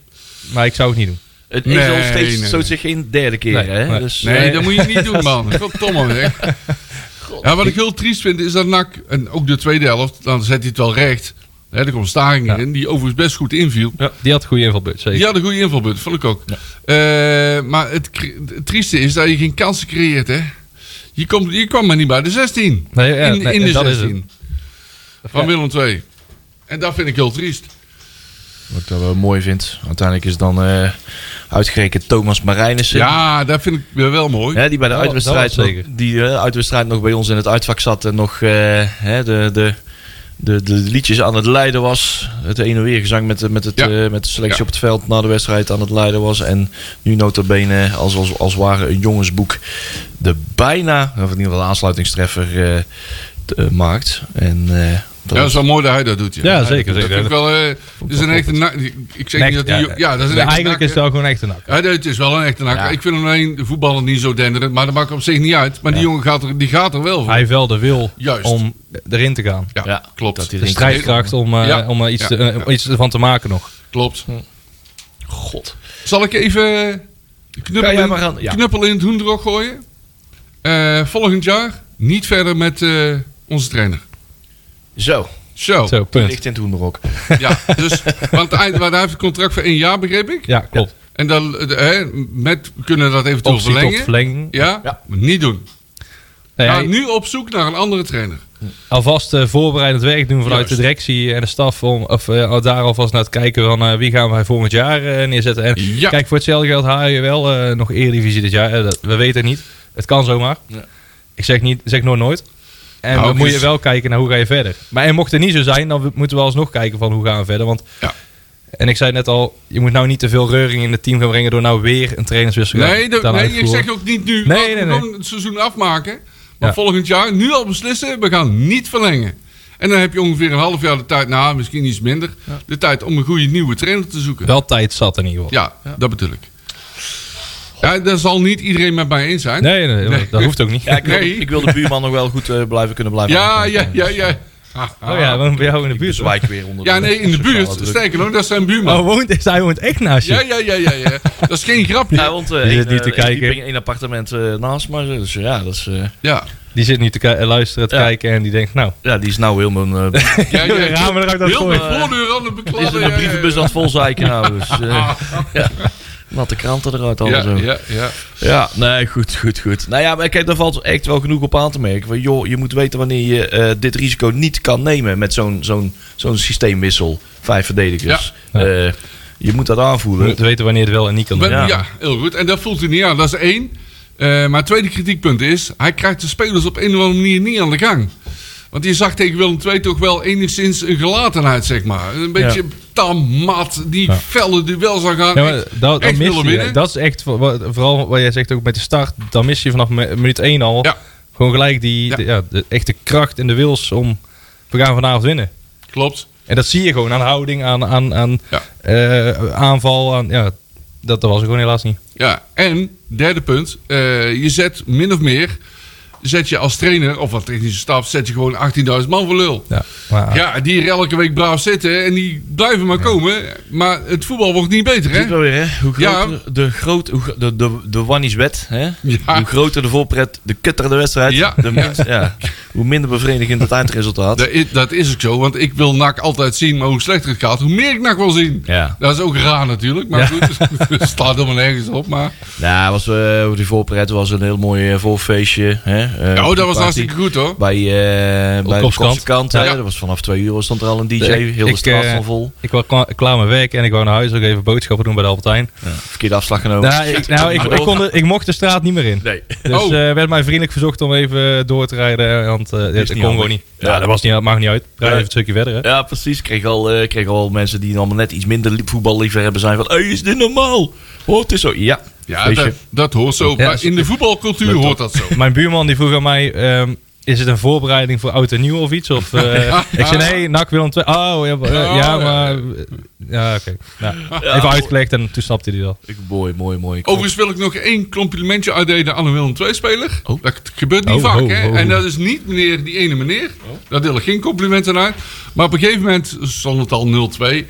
Speaker 4: Maar ik zou het niet doen.
Speaker 2: Het
Speaker 3: Nee,
Speaker 2: is al steeds
Speaker 3: nee,
Speaker 2: zo
Speaker 3: nee.
Speaker 2: zich geen derde keer.
Speaker 4: Nee,
Speaker 2: hè?
Speaker 4: nee.
Speaker 2: Dus,
Speaker 3: Nee,
Speaker 2: eh,
Speaker 3: dat moet je niet doen, man. Goddomme, zeg. Ja, wat ik heel triest vind, is dat NAC... En ook de tweede helft, dan zet hij het wel recht. Hè, er komt Staring
Speaker 4: Ja.
Speaker 3: in, die overigens best goed inviel.
Speaker 4: Die had goede invalbeurt, zeker.
Speaker 3: Die had een goede invalbeurt, vond ik ook. Eh, maar het, cre- het trieste is dat je geen kansen creëert, hè. Je, komt, je kwam maar niet bij de 16.
Speaker 4: Nee, ja,
Speaker 3: in,
Speaker 4: nee,
Speaker 3: in
Speaker 4: en
Speaker 3: de
Speaker 4: dat is
Speaker 3: 16. Van Willem II. En dat vind ik heel triest.
Speaker 2: Wat ik dan wel mooi vind. Uiteindelijk is dan eh uitgerekend Thomas Marijnissen.
Speaker 3: Ja, dat vind ik weer wel mooi.
Speaker 2: Hè, die bij de
Speaker 4: Dat-
Speaker 2: uitwedstrijd,
Speaker 4: dat was
Speaker 2: nog-
Speaker 4: zeker.
Speaker 2: die eh, uitwedstrijd nog bij ons in het uitvak zat en nog eh, hè, de, de, de, de liedjes aan het leiden was. Het ene weer gezang met, de- met, het,
Speaker 3: Ja.
Speaker 2: eh, met de selectie
Speaker 3: Ja.
Speaker 2: op het veld na de wedstrijd aan het leiden was. En nu nota bene als, als, als ware een jongensboek de bijna, of in ieder geval de aansluitingstreffer eh, t- eh, maakt. En, eh, dat
Speaker 3: Ja, dat
Speaker 2: was-
Speaker 3: is wel mooi dat hij dat doet. Ja,
Speaker 4: Ja, zeker,
Speaker 3: Dat
Speaker 4: zeker.
Speaker 3: vind ik wel, eh, dat is een echte nak. Ik zeg
Speaker 4: Nekt,
Speaker 3: niet dat hij...
Speaker 4: ja,
Speaker 3: Ja, dat is een
Speaker 4: maar
Speaker 3: echte
Speaker 4: Eigenlijk
Speaker 3: nak,
Speaker 4: is het wel gewoon echt een nak.
Speaker 3: hè. Ja, nee, het is wel een echte nak.
Speaker 2: Ja.
Speaker 3: Ik vind hem alleen de voetballer niet zo denderend, maar dat maakt op zich niet uit. Maar die jongen gaat er, die gaat er wel voor.
Speaker 4: Hij heeft wel de wil
Speaker 3: Juist.
Speaker 4: om erin te gaan.
Speaker 3: ja,
Speaker 2: Ja,
Speaker 3: klopt.
Speaker 2: dat hij
Speaker 4: De
Speaker 2: erin
Speaker 4: strijdkracht om, eh,
Speaker 3: Ja.
Speaker 4: om er iets,
Speaker 3: Ja.
Speaker 4: te- eh, om iets ervan te maken nog.
Speaker 3: Klopt.
Speaker 2: God.
Speaker 3: Zal ik even eh, De knuppel,
Speaker 2: Ga jij
Speaker 3: in,
Speaker 2: maar aan- ja.
Speaker 3: knuppel in het hoenderok gooien. Eh, volgend jaar niet verder met eh, onze trainer.
Speaker 2: Zo,
Speaker 3: Zo.
Speaker 4: Zo,
Speaker 2: die
Speaker 4: punt.
Speaker 2: ligt in het hoenderok.
Speaker 3: Ja, dus, want hij, want hij heeft een contract voor één jaar, begreep ik.
Speaker 4: Ja, klopt.
Speaker 3: En dan, eh, hè, met, we kunnen dat eventueel
Speaker 4: Optie tot
Speaker 3: verlengen.
Speaker 4: verlenging.
Speaker 3: ja,
Speaker 2: Ja.
Speaker 3: maar niet doen.
Speaker 4: Nou ja,
Speaker 3: Ga nu op zoek naar een andere trainer.
Speaker 4: alvast eh, voorbereidend werk doen vanuit
Speaker 3: Juist.
Speaker 4: de directie en de staf. Om, of eh, daar alvast naar te kijken van eh, wie gaan wij volgend jaar eh, neerzetten. En
Speaker 3: Ja.
Speaker 4: kijk, voor hetzelfde geld haal je wel eh, nog Eredivisie dit jaar. Eh, dat, we weten het niet. Het kan zomaar.
Speaker 2: Ja.
Speaker 4: Ik zeg, niet, zeg nooit nooit. En
Speaker 3: Nou,
Speaker 4: dan
Speaker 3: ook
Speaker 4: moet
Speaker 3: is-
Speaker 4: je wel kijken naar hoe ga je verder. Maar en mocht het niet zo zijn, dan moeten we alsnog kijken van hoe gaan we verder. Want
Speaker 3: Ja.
Speaker 4: en ik zei net al, je moet nou niet te veel reuring in het team gaan brengen door nou weer een trainerswissel
Speaker 3: Nee, dat-
Speaker 4: te gaan
Speaker 3: nee ik
Speaker 4: uitvoeren.
Speaker 3: zeg ook niet nu.
Speaker 4: Nee,
Speaker 3: Laten we
Speaker 4: nee, nee.
Speaker 3: Gewoon het seizoen afmaken. Maar
Speaker 4: Ja.
Speaker 3: volgend jaar nu al beslissen, we gaan niet verlengen. En dan heb je ongeveer een half jaar de tijd, nou misschien iets minder, de tijd om een goede nieuwe trainer te zoeken.
Speaker 4: Wel tijd zat in ieder geval.
Speaker 3: Ja, dat bedoel ik. Ja, daar zal niet iedereen met mij eens zijn.
Speaker 4: Nee, nee,
Speaker 3: Nee.
Speaker 4: dat hoeft ook niet.
Speaker 2: Ja, ik, wil,
Speaker 3: Nee.
Speaker 2: ik wil de buurman nog wel goed eh, blijven kunnen blijven.
Speaker 3: Ja,
Speaker 2: aankomen.
Speaker 3: ja, ja, ja. Ah, ah.
Speaker 4: Oh ja, we bij jou in de
Speaker 2: Ik
Speaker 4: buurt. hoor.
Speaker 2: zwijk weer onder
Speaker 3: Ja,
Speaker 2: de
Speaker 3: nee, in de
Speaker 2: sociale
Speaker 3: buurt.
Speaker 2: druk.
Speaker 3: Sterker nog, dat is zijn buurman.
Speaker 4: Oh, woont, hij woont echt naast je.
Speaker 3: Ja, ja, ja, ja, ja. Dat is geen grapje.
Speaker 2: Ja, want eh
Speaker 4: Die zit
Speaker 2: één,
Speaker 4: niet te
Speaker 2: eh, één
Speaker 4: kijken.
Speaker 2: dieping, één appartement eh, naast me. Dus ja, dat is, eh,
Speaker 3: Ja,
Speaker 4: Die zit nu te ki- luisteren, te
Speaker 2: Ja.
Speaker 4: kijken en die denkt, nou,
Speaker 2: ja, die is nou heel mijn... eh,
Speaker 3: ja, ja.
Speaker 4: de ramen eruit aan het
Speaker 3: Heel de
Speaker 4: gooien.
Speaker 3: voordeur aan het
Speaker 2: die is
Speaker 3: bekladden.
Speaker 2: in de
Speaker 3: ja, ja, ja.
Speaker 2: brievenbus aan het volzeiken nou. Dus, eh ja. Natte kranten eruit, alles zo.
Speaker 3: eh. Ja, ja, ja.
Speaker 2: Ja, nee, goed, goed, goed. Nou ja, maar kijk, daar valt echt wel genoeg op aan te merken. Van, joh, je moet weten wanneer je eh, dit risico niet kan nemen met zo'n zo'n zo'n systeemwissel. Vijf verdedigers.
Speaker 4: Ja.
Speaker 2: Eh, je moet dat
Speaker 4: We
Speaker 2: aanvoelen.
Speaker 4: moeten weten wanneer het wel en niet kan.
Speaker 3: Ben-
Speaker 4: doen.
Speaker 3: ja.
Speaker 2: Ja.
Speaker 3: heel goed. En dat voelt hij niet aan. Dat is één. Eh, maar het tweede kritiekpunt is... hij krijgt de spelers op een of andere manier niet aan de gang. Want je zag tegen Willem II toch wel enigszins een gelatenheid, zeg maar. Een beetje tam, mat, die felle duels aan gaan.
Speaker 4: Ja, maar
Speaker 3: Echt-
Speaker 4: dat, dat
Speaker 3: echt
Speaker 4: mis
Speaker 3: willen
Speaker 4: je.
Speaker 3: winnen.
Speaker 4: Dat is echt, voor- wat- vooral wat jij zegt ook met de start, dan mis je vanaf me- minuut 1 al
Speaker 3: Ja.
Speaker 4: gewoon gelijk die
Speaker 3: Ja.
Speaker 4: De, ja, de echte kracht en de wils om, we gaan vanavond winnen.
Speaker 3: Klopt.
Speaker 4: En dat zie je gewoon aan houding, aan, aan, aan
Speaker 3: Ja.
Speaker 4: eh, aanval, aan, ja, dat, dat was er gewoon helaas niet.
Speaker 3: Ja, en derde punt. eh, je zet min of meer... zet je als trainer, of als technische staf... zet je gewoon 18.000 man voor lul.
Speaker 4: Ja, maar,
Speaker 3: Ja, die er elke week braaf zitten en die blijven maar komen. Maar het voetbal wordt niet beter,
Speaker 2: Zie je
Speaker 3: hè?
Speaker 2: wel weer, hè? Hoe
Speaker 3: Ja.
Speaker 2: groter de, groot, hoe, gro- de, de, de wannies wet, hè?
Speaker 3: Ja.
Speaker 2: Hoe groter de voorpret, de kutter de wedstrijd.
Speaker 3: Ah. Ja.
Speaker 2: De minst- ja. Hoe minder bevredigend het eindresultaat.
Speaker 3: Dat is, dat is ook zo, want ik wil NAC altijd zien, maar hoe slechter het gaat, hoe meer ik NAC wil zien.
Speaker 2: Ja.
Speaker 3: Dat is ook raar natuurlijk, maar goed, dus het staat helemaal nergens op. Maar...
Speaker 2: Nou, was, eh, die voorpret was een heel mooi eh, voorfeestje. Hè? Eh,
Speaker 3: Ja, oh, dat was
Speaker 2: party.
Speaker 3: hartstikke goed hoor.
Speaker 2: Bij, eh bij de
Speaker 4: Kopskant.
Speaker 2: Kopskant. hè.
Speaker 3: Ja.
Speaker 2: Dat was vanaf twee uur was- stond er al een DJ.
Speaker 4: Ik-
Speaker 2: heel de
Speaker 4: ik,
Speaker 2: straat
Speaker 4: eh,
Speaker 2: van vol.
Speaker 4: Ik was klaar, klaar met werk en ik wou naar huis ook even boodschappen doen bij de Albertijn.
Speaker 2: Verkeerde afslag genomen.
Speaker 4: Nou, ik, nou ik, ik, kon de- ik mocht de straat niet meer in.
Speaker 2: Nee.
Speaker 4: Dus
Speaker 3: Oh.
Speaker 4: eh, werd mij vriendelijk verzocht om even door te rijden. Want eh
Speaker 2: is
Speaker 4: dat
Speaker 2: niet
Speaker 4: kon gewoon
Speaker 2: handig.
Speaker 4: niet.
Speaker 2: Ja.
Speaker 4: Ja, dat was niet, mag niet uit. Rijd
Speaker 2: Nee.
Speaker 4: even een stukje verder. Hè.
Speaker 2: Ja, precies. Ik kreeg al, eh, kreeg al mensen die allemaal net iets minder li- voetballiefhebber zijn. Van, hey, is dit normaal? Hoort het is zo? Ja.
Speaker 3: Ja,
Speaker 2: Weet je.
Speaker 3: dat, dat hoort zo.
Speaker 4: Ja,
Speaker 3: maar in de voetbalcultuur hoort dat zo.
Speaker 4: Mijn buurman die vroeg aan mij... ehm, is het een voorbereiding voor oud en nieuw of iets? Of, eh, Ik zei nee, NAC Willem II. Oh, ja, maar- eh, ja,
Speaker 3: ja.
Speaker 4: maar... Ja, oké. Nou, even uitgelegd en toen snapte hij wel.
Speaker 2: Ik, mooi, mooi, mooi. Ik
Speaker 3: Overigens wil ik nog één complimentje uitdelen aan een Willem II-speler.
Speaker 2: Oh.
Speaker 3: Dat gebeurt niet
Speaker 4: Oh,
Speaker 3: vaak,
Speaker 4: oh,
Speaker 3: hè?
Speaker 4: oh.
Speaker 3: En dat is niet meneer, die ene meneer. Daar deel ik geen complimenten aan. Maar op een gegeven moment stond het al 0-2.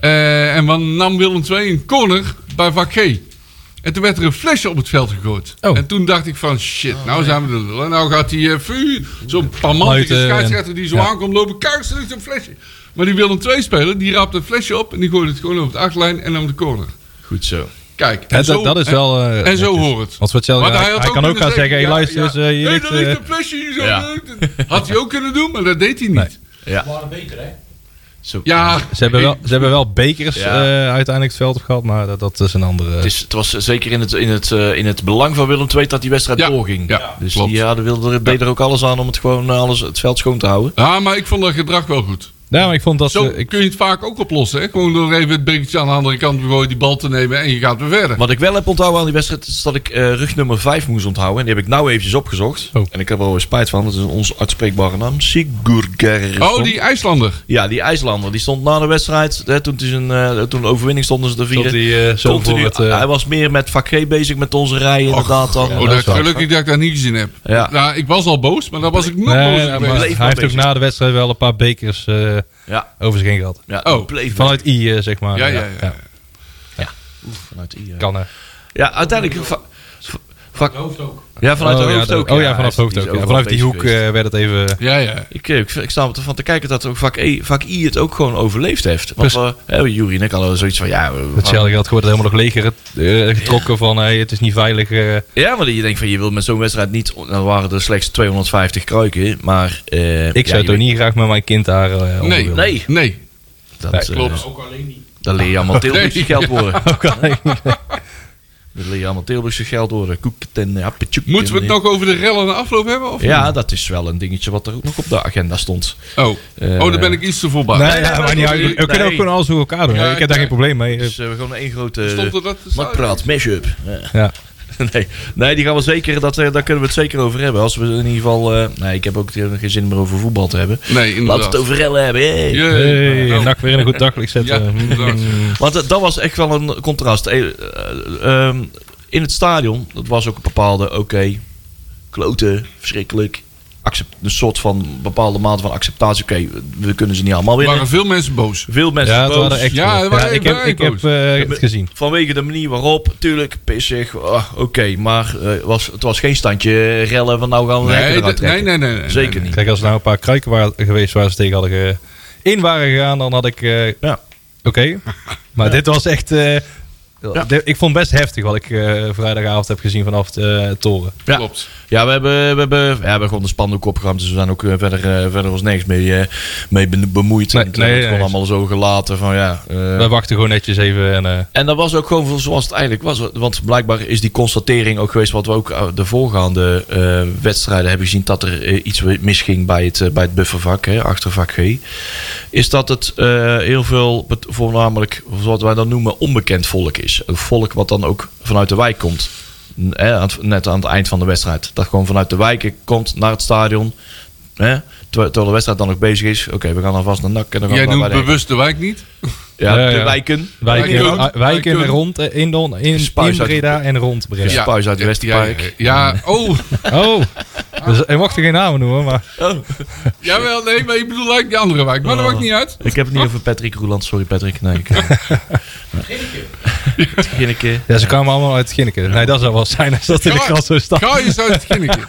Speaker 3: Eh, en dan nam Willem II een corner bij vak G. En toen werd er een flesje op het veld gegooid.
Speaker 4: Oh.
Speaker 3: En toen dacht ik van, shit, nou zijn we de lul. Nou gaat die eh, vuur, zo'n pamantige
Speaker 4: Fluiten en-
Speaker 3: scheidsrechter die zo
Speaker 4: eh, Ja.
Speaker 3: aankomt lopen. Kijk, er is een flesje. Maar die Willem II-speler, die raapte het flesje op... en die gooide het gewoon over de achterlijn en nam de corner.
Speaker 2: Goed zo.
Speaker 3: Kijk, en
Speaker 4: Dat,
Speaker 3: zo-
Speaker 4: dat is
Speaker 3: en-
Speaker 4: wel... eh,
Speaker 3: en zo
Speaker 4: netjes.
Speaker 3: hoort het.
Speaker 4: Want voor hetzelfde,
Speaker 3: Maar
Speaker 4: hij, hij kan ook
Speaker 3: kunnen
Speaker 4: gaan zeggen... hey,
Speaker 3: ja,
Speaker 4: luister
Speaker 3: ja.
Speaker 4: eens, eh, hier
Speaker 3: Nee,
Speaker 4: ligt,
Speaker 3: daar ligt
Speaker 4: eh,
Speaker 3: een flesje hier zo.
Speaker 2: Ja.
Speaker 3: Dat Had hij ook kunnen doen, maar dat deed hij niet.
Speaker 4: Nee.
Speaker 2: Ja. Zo.
Speaker 3: Ja,
Speaker 4: ze, hebben wel, ze hebben wel bekers
Speaker 2: Ja.
Speaker 4: eh, uiteindelijk het veld op gehad. Maar dat, dat is een andere...
Speaker 2: Het, is, het was zeker in het, in, het, eh, in het belang van Willem II dat die wedstrijd
Speaker 3: Ja.
Speaker 2: doorging.
Speaker 3: Ja,
Speaker 2: dus
Speaker 3: klopt.
Speaker 2: die ja, die wilde er, deed er ook alles aan om het, gewoon, eh, alles, het veld schoon te houden.
Speaker 3: Ja, maar ik vond dat gedrag wel goed.
Speaker 4: ja, maar ik vond dat...
Speaker 3: Zo
Speaker 4: ze- ik,
Speaker 3: kun je het vaak ook oplossen. Hè? Gewoon door even het bekertje aan de andere kant te gooien, die bal te nemen en je gaat weer verder.
Speaker 2: Wat ik wel heb onthouden aan die wedstrijd is dat ik eh rug nummer 5 moest onthouden. En die heb ik nou eventjes opgezocht.
Speaker 4: Oh.
Speaker 2: En ik heb er wel weer spijt van. Dat is een onuitspreekbare naam. Sigurger.
Speaker 3: oh, die IJslander.
Speaker 2: Ja, die IJslander. Die stond na de wedstrijd. Hè, toen, het is een, eh, toen de overwinning stonden ze te
Speaker 4: Tot
Speaker 2: vieren.
Speaker 4: die, eh, zo
Speaker 2: Continu-
Speaker 4: voor het, eh,
Speaker 2: Hij was meer met vak G bezig met onze rij inderdaad dan.
Speaker 3: oh,
Speaker 4: dat
Speaker 3: dat
Speaker 4: is waar.
Speaker 3: gelukkig dat ik dat niet gezien heb.
Speaker 2: Ja.
Speaker 3: Nou, ik was al boos, maar dan was ik nog
Speaker 4: Nee,
Speaker 3: boos.
Speaker 4: maar
Speaker 3: geweest.
Speaker 2: Bleef
Speaker 4: hij
Speaker 2: maar
Speaker 4: heeft ook
Speaker 2: bezig.
Speaker 4: na de wedstrijd wel een paar bekers eh,
Speaker 2: Ja,
Speaker 4: over zich heen gehad.
Speaker 2: ja
Speaker 3: Oh.
Speaker 2: bleef
Speaker 4: Vanuit I, eh, zeg maar.
Speaker 3: Ja, ja, ja.
Speaker 2: vanuit I, ja.
Speaker 4: Kan, eh. hè.
Speaker 2: Ja, uiteindelijk... va- va- va-
Speaker 3: hoofd ook.
Speaker 2: ja, vanuit
Speaker 4: oh,
Speaker 2: de
Speaker 4: ja,
Speaker 2: hoofd
Speaker 4: de-
Speaker 2: ook.
Speaker 4: Oh ja, vanaf
Speaker 2: hij is
Speaker 4: hoofd ook.
Speaker 2: niet
Speaker 4: ja.
Speaker 2: overal
Speaker 4: Vanuit die
Speaker 2: bezig
Speaker 4: hoek
Speaker 2: geweest.
Speaker 4: eh, werd het even...
Speaker 3: Ja, ja.
Speaker 2: Ik, ik, ik sta ervan te kijken dat ook vak, e, vak I het ook gewoon overleefd heeft. Want
Speaker 4: Precies.
Speaker 2: eh, hè, Jury en ik hadden zoiets van, ja... we-
Speaker 4: Hetzelfde geld wordt helemaal nog leger eh, getrokken van hey, het is niet veilig. eh.
Speaker 2: Ja, maar je denkt van, je wil met zo'n wedstrijd niet... Dan waren er slechts 250 kruiken, maar... eh, ja,
Speaker 4: ik zou
Speaker 2: je
Speaker 4: toch
Speaker 2: weet-
Speaker 4: niet graag met mijn kind daar eh, onder
Speaker 3: Nee.
Speaker 4: willen.
Speaker 2: Nee,
Speaker 3: Nee,
Speaker 2: dat
Speaker 4: Nee,
Speaker 2: eh,
Speaker 3: klopt. Ook alleen niet.
Speaker 2: Dan leer je allemaal Tilburgse
Speaker 3: Nee.
Speaker 2: geld worden.
Speaker 4: Ook alleen.
Speaker 2: Dan leer je allemaal Tilburgse geld worden. Koeket en eh, appetjoek.
Speaker 3: Moeten we het
Speaker 2: en-
Speaker 3: nog over de rellen na afloop hebben? Of
Speaker 2: eh. Ja, dat is wel een dingetje wat er ook nog op de agenda stond.
Speaker 3: niet? Oh. oh, daar ben ik iets te voorbij.
Speaker 4: Nee, ja, maar niet uit. We
Speaker 2: Nee.
Speaker 4: kunnen ook gewoon alles door elkaar doen. hè.
Speaker 3: Ja,
Speaker 4: ik heb daar
Speaker 3: ja.
Speaker 4: geen probleem mee.
Speaker 2: Dus eh, we gewoon één
Speaker 3: Stond er
Speaker 2: grote
Speaker 3: dat te staan?
Speaker 2: matpraat, mashup. Ja.
Speaker 4: Ja.
Speaker 2: Nee, nee, die gaan we zeker, dat, eh, daar kunnen we het zeker over hebben. Als we in ieder geval, eh, nee, ik heb ook geen zin meer over voetbal te hebben.
Speaker 3: Nee,
Speaker 2: Laten we
Speaker 3: inderdaad.
Speaker 2: het over rellen hebben. hey.
Speaker 3: Jee.
Speaker 4: Hey, Oh.
Speaker 3: Nou,
Speaker 4: NAC weer in een goed daglicht
Speaker 3: ja,
Speaker 4: zetten.
Speaker 3: inderdaad.
Speaker 2: Want eh, dat was echt wel een contrast. Eh, eh, ehm, in het stadion, dat was ook een bepaalde, oké, kloten, verschrikkelijk. Accept, een soort van bepaalde mate van acceptatie. Oké, we kunnen ze niet allemaal
Speaker 3: Er
Speaker 2: winnen.
Speaker 3: waren veel mensen boos.
Speaker 2: Veel mensen
Speaker 4: Ja, het
Speaker 2: boos.
Speaker 4: waren echt.
Speaker 3: Ja, het waren
Speaker 4: ik heb,
Speaker 3: echt
Speaker 4: ik heb
Speaker 3: boos.
Speaker 4: eh, het gezien.
Speaker 2: Vanwege de manier waarop, tuurlijk, pissig, ah, oké. maar eh, was, het was geen standje rellen van nou gaan we lekker
Speaker 3: Nee,
Speaker 2: eruit
Speaker 3: dat- nee,
Speaker 2: trekken.
Speaker 3: nee, nee, nee.
Speaker 2: Zeker niet.
Speaker 4: Kijk, als er nou een paar kruiken waren geweest waar ze tegen hadden ge- in waren gegaan, dan had ik. eh,
Speaker 2: Ja.
Speaker 4: Oké. Maar dit was echt. eh, dit- ik vond het best heftig wat ik eh, vrijdagavond heb gezien vanaf de eh, toren.
Speaker 2: Ja.
Speaker 3: Klopt.
Speaker 2: Ja, we hebben, we hebben, ja, we hebben gewoon de spandoek opgeruimd. Dus we zijn ook eh, verder, eh, verder ons niks mee, eh, mee be- bemoeid.
Speaker 4: Nee,
Speaker 2: en het
Speaker 4: nee,
Speaker 2: hebben we het
Speaker 4: nee,
Speaker 2: gewoon allemaal zo gelaten van ja. eh,
Speaker 4: We wachten gewoon netjes even. En, eh,
Speaker 2: En dat was ook gewoon zoals het eigenlijk was. Want blijkbaar is die constatering ook geweest wat we ook uit de voorgaande eh, wedstrijden hebben gezien. Dat er eh, iets misging bij het, eh, bij het buffervak, hè, achtervak G. Is dat het eh, heel veel bet- voornamelijk, wat wij dan noemen, onbekend volk is. Een volk wat dan ook vanuit de wijk komt. N- hè, aan het- Net aan het eind van de wedstrijd. Dat gewoon vanuit de wijken komt naar het stadion. Hè? Terwijl terwijl de wedstrijd dan nog bezig is. Oké, we gaan alvast naar NAC. En dan gaan
Speaker 3: Jij
Speaker 2: we naar
Speaker 3: noemt
Speaker 2: bij de-
Speaker 3: bewust de wijk niet.
Speaker 2: Ja,
Speaker 4: Ja,
Speaker 2: de wijken.
Speaker 4: ja. wijken,
Speaker 3: Wij kunnen-
Speaker 4: eh, wijken
Speaker 3: wij kunnen-
Speaker 4: rond eh, in, Don, in, in
Speaker 2: Spuis uit-
Speaker 4: Breda en rond Breda.
Speaker 2: Ja. Spuis uit
Speaker 3: Ja,
Speaker 2: Westerpark.
Speaker 3: ja, Ja, ja. oh.
Speaker 4: Oh, dus, ik mocht er geen namen noemen, maar
Speaker 3: Jawel, nee, maar ik bedoel eigenlijk die andere wijk. Maar dat maakt niet uit.
Speaker 2: Ik heb het niet over Patrick Roeland. Sorry, Patrick. Nee, ik... Ginneke.
Speaker 4: ja, ze kwamen allemaal uit Ginneke. Nee, dat zou wel zijn als dat in de
Speaker 3: Ga-
Speaker 4: kast zo staat.
Speaker 3: Ga eens uit het kinnetje.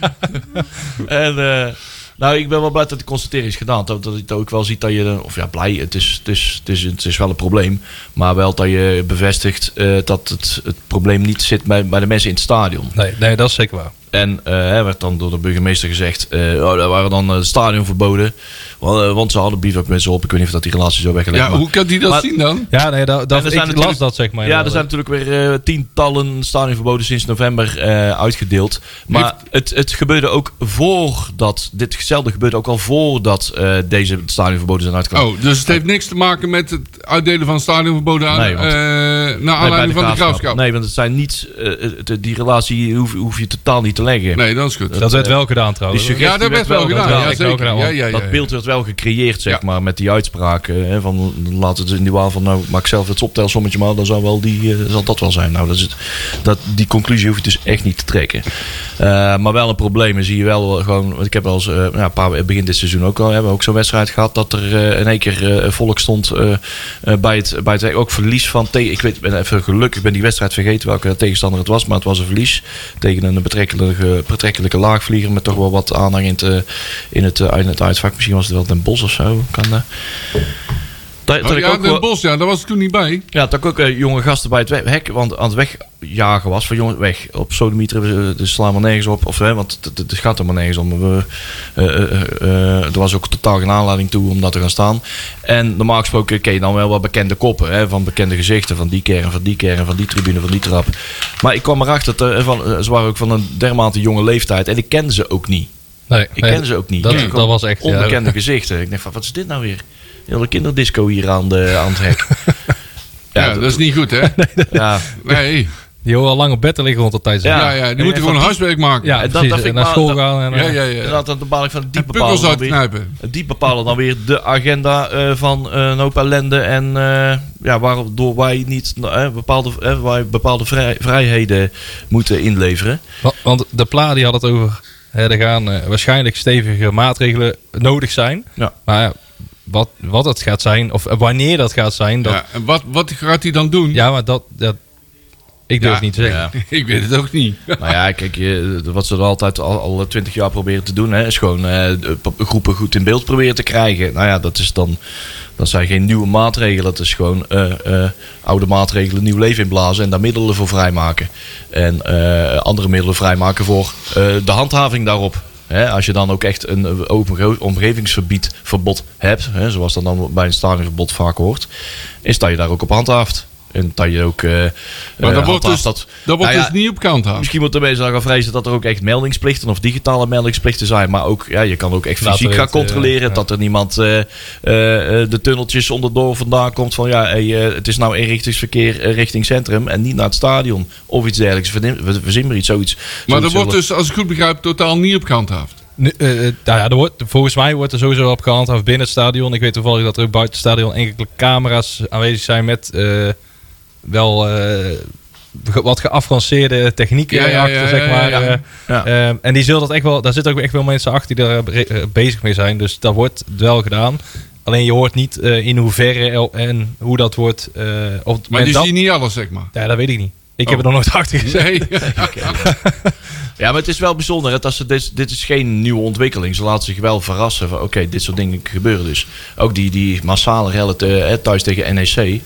Speaker 2: En, eh, nou, ik ben wel blij dat de constatering is gedaan. Dat, dat je het ook wel ziet dat je... eh, Of ja, blij. Het is, het is, het is, het is wel een probleem. Maar wel dat je bevestigt eh, dat het, het probleem niet zit bij, bij de mensen in het stadion.
Speaker 4: Nee, nee, dat is zeker waar.
Speaker 2: En eh, er werd dan door de burgemeester gezegd, eh oh, daar waren dan eh, het stadion verboden. Want, eh, want ze hadden bivak mensen op. Ik weet niet of dat die relatie zo weggelegd
Speaker 3: Ja,
Speaker 2: maar-
Speaker 3: hoe kan die dat
Speaker 2: Maar-
Speaker 3: zien dan?
Speaker 4: Ja, nee, dat,
Speaker 2: En
Speaker 4: dat,
Speaker 2: er
Speaker 4: ik
Speaker 2: zijn
Speaker 4: las
Speaker 2: natuurlijk-
Speaker 4: dat zeg maar.
Speaker 2: Ja, er
Speaker 4: inderdaad.
Speaker 2: zijn natuurlijk weer eh, tientallen stadionverboden sinds november eh, uitgedeeld. Maar het, het gebeurde ook voordat, ditzelfde gebeurde ook al voordat eh, deze stadionverboden zijn uitgekomen.
Speaker 3: Oh, dus het heeft niks te maken met het uitdelen van stadionverboden aan,
Speaker 2: Nee, want-
Speaker 3: eh, naar
Speaker 2: Nee, bij
Speaker 3: aanleiding van de graafschap. Nee.
Speaker 2: Nee, want het zijn niet, eh, het- die relatie hoef, hoef je totaal niet te leggen.
Speaker 3: dat is goed.
Speaker 4: Dat werd wel gedaan trouwens.
Speaker 2: Die
Speaker 3: ja, dat
Speaker 2: werd
Speaker 3: werd wel
Speaker 2: wel
Speaker 3: gedaan.
Speaker 2: gedaan.
Speaker 3: Ja,
Speaker 4: Ik ook
Speaker 3: zeker.
Speaker 4: gedaan,
Speaker 3: Ja,
Speaker 4: want
Speaker 3: ja, ja,
Speaker 2: dat
Speaker 3: ja.
Speaker 2: beeld werd wel gecreëerd, zeg
Speaker 3: Ja.
Speaker 2: maar, met die uitspraken. Hè, van laten het in die waal van, nou, maak zelf het optelsommetje maar, dan zou, wel die, eh, zal dat wel zijn. Nou, dat is het, dat, die conclusie hoef je dus echt niet te trekken. Eh, maar wel een probleem is hier wel gewoon, want ik heb wel eens, eh, nou, een paar, begin dit seizoen ook al, hebben we ook zo'n wedstrijd gehad dat er eh, in één keer eh, volk stond eh, eh, bij, het, bij het, ook verlies van, te- ik weet, ik ben even gelukkig, ik ben die wedstrijd vergeten welke tegenstander het was, maar het was een verlies tegen een betrekkelijke, betrekkelijke laagvlieger met toch wel wat aanhang in het, eh, in het, eh, in het uitvak. Misschien was het wel Den Bos of zo. Kan, eh. dat, dat
Speaker 3: Oh,
Speaker 2: ik
Speaker 3: ja,
Speaker 2: ook
Speaker 3: Den
Speaker 2: wel-
Speaker 3: Bos, ja, daar was ik toen niet bij.
Speaker 2: ja, dat ik ook eh, jonge gasten bij het we- hek want aan het wegjagen was. Van jongens, weg. Op sodomieter, eh, dus slaan maar nergens op. Of, hè, want het- het het gaat er maar nergens om. We, eh, eh, eh, er was ook totaal geen aanleiding toe om daar te gaan staan. En normaal gesproken ken je dan wel wat bekende koppen. Hè, van bekende gezichten. Van die kern, van die kern, van die tribune, van die trap. Maar ik kwam erachter, dat, eh, van, eh, ze waren ook van een dermate jonge leeftijd. En ik kende ze ook niet.
Speaker 4: Nee,
Speaker 2: Ik
Speaker 4: nee,
Speaker 2: ken ze ook niet.
Speaker 4: Dat,
Speaker 2: Ja.
Speaker 4: dat was echt... ja.
Speaker 2: Onbekende gezichten. Ik dacht van, wat is dit nou weer? Een hele kinderdisco hier aan, de, aan het hek.
Speaker 3: Ja, dat is niet goed, hè?
Speaker 2: ja.
Speaker 3: Nee.
Speaker 4: Die horen al lang op bed te liggen rond dat tijd.
Speaker 2: Ja.
Speaker 3: Ja, ja, die
Speaker 2: En
Speaker 3: moeten
Speaker 2: van
Speaker 3: gewoon huiswerk maken.
Speaker 4: ja
Speaker 2: en dat
Speaker 4: precies.
Speaker 2: dacht ik
Speaker 4: naar
Speaker 2: maar-
Speaker 4: school
Speaker 2: dat-
Speaker 4: gaan. En,
Speaker 3: ja,
Speaker 4: eh,
Speaker 3: ja.
Speaker 2: Ja.
Speaker 3: ja.
Speaker 2: En dan bepaal ik van die
Speaker 3: Pukkels
Speaker 2: bepalen dan weer,
Speaker 3: uitknijpen.
Speaker 2: die bepalen dan weer de agenda eh, van eh, een hoop ellende en eh, ja, waardoor wij niet nou, eh, bepaalde, eh, wij bepaalde vrij- vrijheden moeten inleveren.
Speaker 4: wa- Want de PLA die had het over... Hè, er gaan eh, waarschijnlijk stevige maatregelen nodig zijn.
Speaker 2: Ja.
Speaker 4: Maar ja, wat, wat het gaat zijn, of eh, wanneer dat gaat zijn... Dat, ja.
Speaker 3: Ja, en wat, wat gaat hij dan doen?
Speaker 4: maar dat... dat Ik durf
Speaker 3: Ja.
Speaker 4: niet te zeggen.
Speaker 3: Ik weet het ook niet.
Speaker 2: Nou ja, kijk, je, wat ze er altijd al twintig jaar proberen te doen, hè, is gewoon eh, de p- groepen goed in beeld proberen te krijgen. Nou ja, dat, is dan, dat zijn geen nieuwe maatregelen. Dat is gewoon eh, eh, oude maatregelen nieuw leven inblazen en daar middelen voor vrijmaken. En eh, andere middelen vrijmaken voor eh, de handhaving daarop. Hè, als je dan ook echt een eh, open geo- omgevingsverbod verbod hebt, hè, zoals dat dan bij een stadionverbod vaak hoort, is dat je daar ook op handhaaft. En dat je ook. eh,
Speaker 3: Maar
Speaker 2: eh,
Speaker 3: dat wordt, dus,
Speaker 2: handhaaft
Speaker 3: dat,
Speaker 2: Nou
Speaker 3: wordt
Speaker 2: ja,
Speaker 3: dus niet op kant aan.
Speaker 2: Misschien moeten mensen dan gaan vrezen dat er ook echt meldingsplichten of digitale meldingsplichten zijn. Maar ook, ja, je kan ook echt
Speaker 4: Later
Speaker 2: fysiek
Speaker 4: het,
Speaker 2: gaan controleren.
Speaker 4: eh, ja.
Speaker 2: Dat er niemand eh, eh, eh, de tunneltjes onderdoor vandaan komt. Van ja, hey, eh, het is nou eenrichtingsverkeer eh, richting centrum en niet naar het stadion. Of iets dergelijks. Verzin- We verzin maar iets, zoiets.
Speaker 3: Maar
Speaker 2: Zoiets
Speaker 3: dat wordt
Speaker 2: zullen-
Speaker 3: dus, als ik goed begrijp, totaal niet op kant aan.
Speaker 4: Nu, eh, eh, nou ja, er wordt, volgens mij wordt er sowieso op gehandhaafd binnen het stadion. Ik weet toevallig dat er ook buiten het stadion enkele camera's aanwezig zijn met eh, wel eh, ge- wat geavanceerde technieken
Speaker 3: Ja, ja,
Speaker 4: achter,
Speaker 3: ja, ja,
Speaker 4: zeg maar.
Speaker 3: ja.
Speaker 4: eh.
Speaker 2: Ja.
Speaker 4: Ehm, en die zullen dat echt wel, daar zitten ook echt wel mensen achter die daar be- eh, bezig mee zijn. Dus dat wordt wel gedaan. Alleen je hoort niet eh, in hoeverre el- en hoe dat wordt. eh, of
Speaker 3: Maar
Speaker 4: men
Speaker 3: die
Speaker 4: dat-
Speaker 3: zien niet alles, zeg maar.
Speaker 4: Ja, dat weet ik niet. Ik heb er nog nooit achter gezeten.
Speaker 3: Nee.
Speaker 2: Ja, maar het is wel bijzonder. Hè, dat ze, dit, dit is geen nieuwe ontwikkeling. Ze laten zich wel verrassen van oké, dit soort dingen gebeuren dus. Ook die, die massale rellen te- hè, thuis tegen NEC.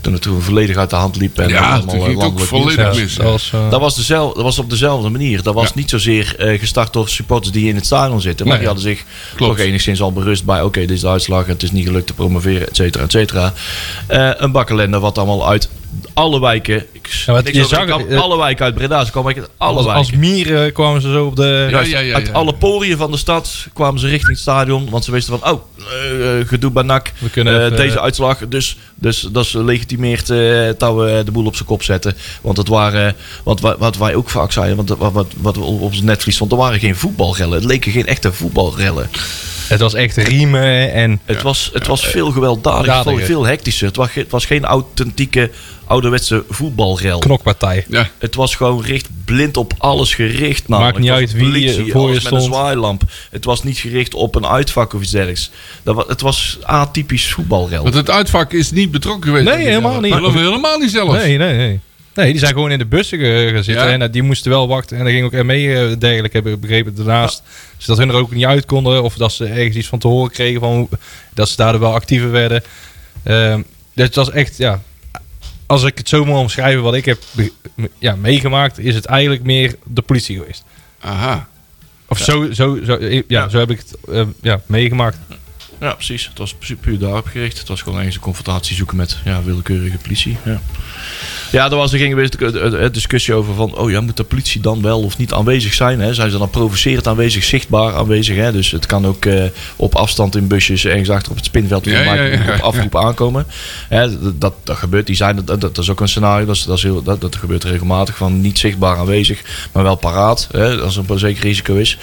Speaker 2: Toen het toen volledig uit de hand liep. En
Speaker 3: Ja,
Speaker 2: allemaal,
Speaker 3: toen
Speaker 2: eh,
Speaker 3: ging het ook
Speaker 2: landelijk nieuws
Speaker 3: volledig
Speaker 2: was.
Speaker 3: mis.
Speaker 4: Dat was, eh,
Speaker 2: Dat was, dezelfde, dat was op dezelfde manier. Dat was
Speaker 3: Ja.
Speaker 2: niet zozeer eh, gestart door supporters die in het stadion zitten. Maar
Speaker 4: Nee.
Speaker 2: die hadden zich
Speaker 3: Klopt.
Speaker 2: toch enigszins al berust bij... oké, dit is de uitslag, het is niet gelukt te promoveren, et cetera, et cetera. Eh, een bakkelende wat allemaal uit alle wijken... Ik,
Speaker 4: Ja, want
Speaker 2: niks
Speaker 4: je
Speaker 2: over-
Speaker 4: zag-
Speaker 2: ik kwam
Speaker 4: eh,
Speaker 2: alle wijken uit Breda, ze kwamen echt uit alle
Speaker 4: als,
Speaker 2: wijken.
Speaker 4: als mieren kwamen ze zo op de...
Speaker 3: Ja,
Speaker 2: Juist,
Speaker 3: ja, ja,
Speaker 2: uit
Speaker 3: ja.
Speaker 2: alle poriën van de stad kwamen ze richting het stadion. Want ze wisten van, oh, eh, eh, gedoe bij NAC.
Speaker 4: We kunnen
Speaker 2: eh,
Speaker 4: even-
Speaker 2: deze uitslag. Dus, dus dat is legitimeert eh, dat we de boel op zijn kop zetten. Want het waren, wat, wat, wat wij ook vaak zeiden, want wat, wat, wat op ons netvlies stond, er waren geen voetbalrellen. Het leken geen echte voetbalrellen.
Speaker 4: Het was echt riemen en...
Speaker 2: Het was, het was veel gewelddadiger,
Speaker 4: Dadiger.
Speaker 2: veel, veel hectischer. Het was, ge- het was geen authentieke, ouderwetse voetbalrel.
Speaker 4: knokpartij.
Speaker 3: Ja.
Speaker 2: Het was gewoon richt, blind op alles gericht. Namelijk.
Speaker 4: niet
Speaker 2: Het
Speaker 4: uit
Speaker 2: was
Speaker 4: wie
Speaker 2: politie,
Speaker 4: je voor je
Speaker 2: alles met
Speaker 4: stond.
Speaker 2: een zwaailamp. Het was niet gericht op een uitvak of iets dergelijks. Dat wa- het was atypisch voetbalrel.
Speaker 3: Want het uitvak is niet betrokken geweest.
Speaker 4: Nee, helemaal niet.
Speaker 3: Helemaal, helemaal niet zelfs.
Speaker 4: Nee, nee, nee. Nee, die zijn gewoon in de bussen ge- gaan zitten.
Speaker 3: Ja.
Speaker 4: En eh, die moesten wel wachten. En daar ging ook mee eh, dergelijk, heb ik begrepen, daarnaast. Dus dat hun er ook niet uit konden. Of dat ze ergens iets van te horen kregen. Van, hoe- dat ze daardoor wel actiever werden. Ehm, dus het was echt, ja... Als ik het zo moet omschrijven wat ik heb be- me- ja, meegemaakt... is het eigenlijk meer de politie geweest.
Speaker 3: Aha.
Speaker 4: Of zo, zo, zo, eh, ja,
Speaker 2: Ja.
Speaker 4: zo heb ik het eh, ja, meegemaakt.
Speaker 2: Ja, precies. Het was pu- puur daarop gericht. Het was gewoon eens een confrontatie zoeken met ja, willekeurige politie. Ja, ja daar was, er ging weer de- de- de discussie over van... oh ja, moet de politie dan wel of niet aanwezig zijn? Hè? Zijn ze dan provocerend aanwezig, zichtbaar aanwezig? Hè? Dus het kan ook eh, op afstand in busjes ergens achter op het spinveld... of
Speaker 3: Ja, ja, ja, ja.
Speaker 2: op afroep aankomen. Hè, d- dat, dat gebeurt. Die zijn, dat, dat, dat is ook een scenario. Dat, is, dat, is heel, dat, dat gebeurt regelmatig. Van niet zichtbaar aanwezig, maar wel paraat. Hè, als er een zeker risico is.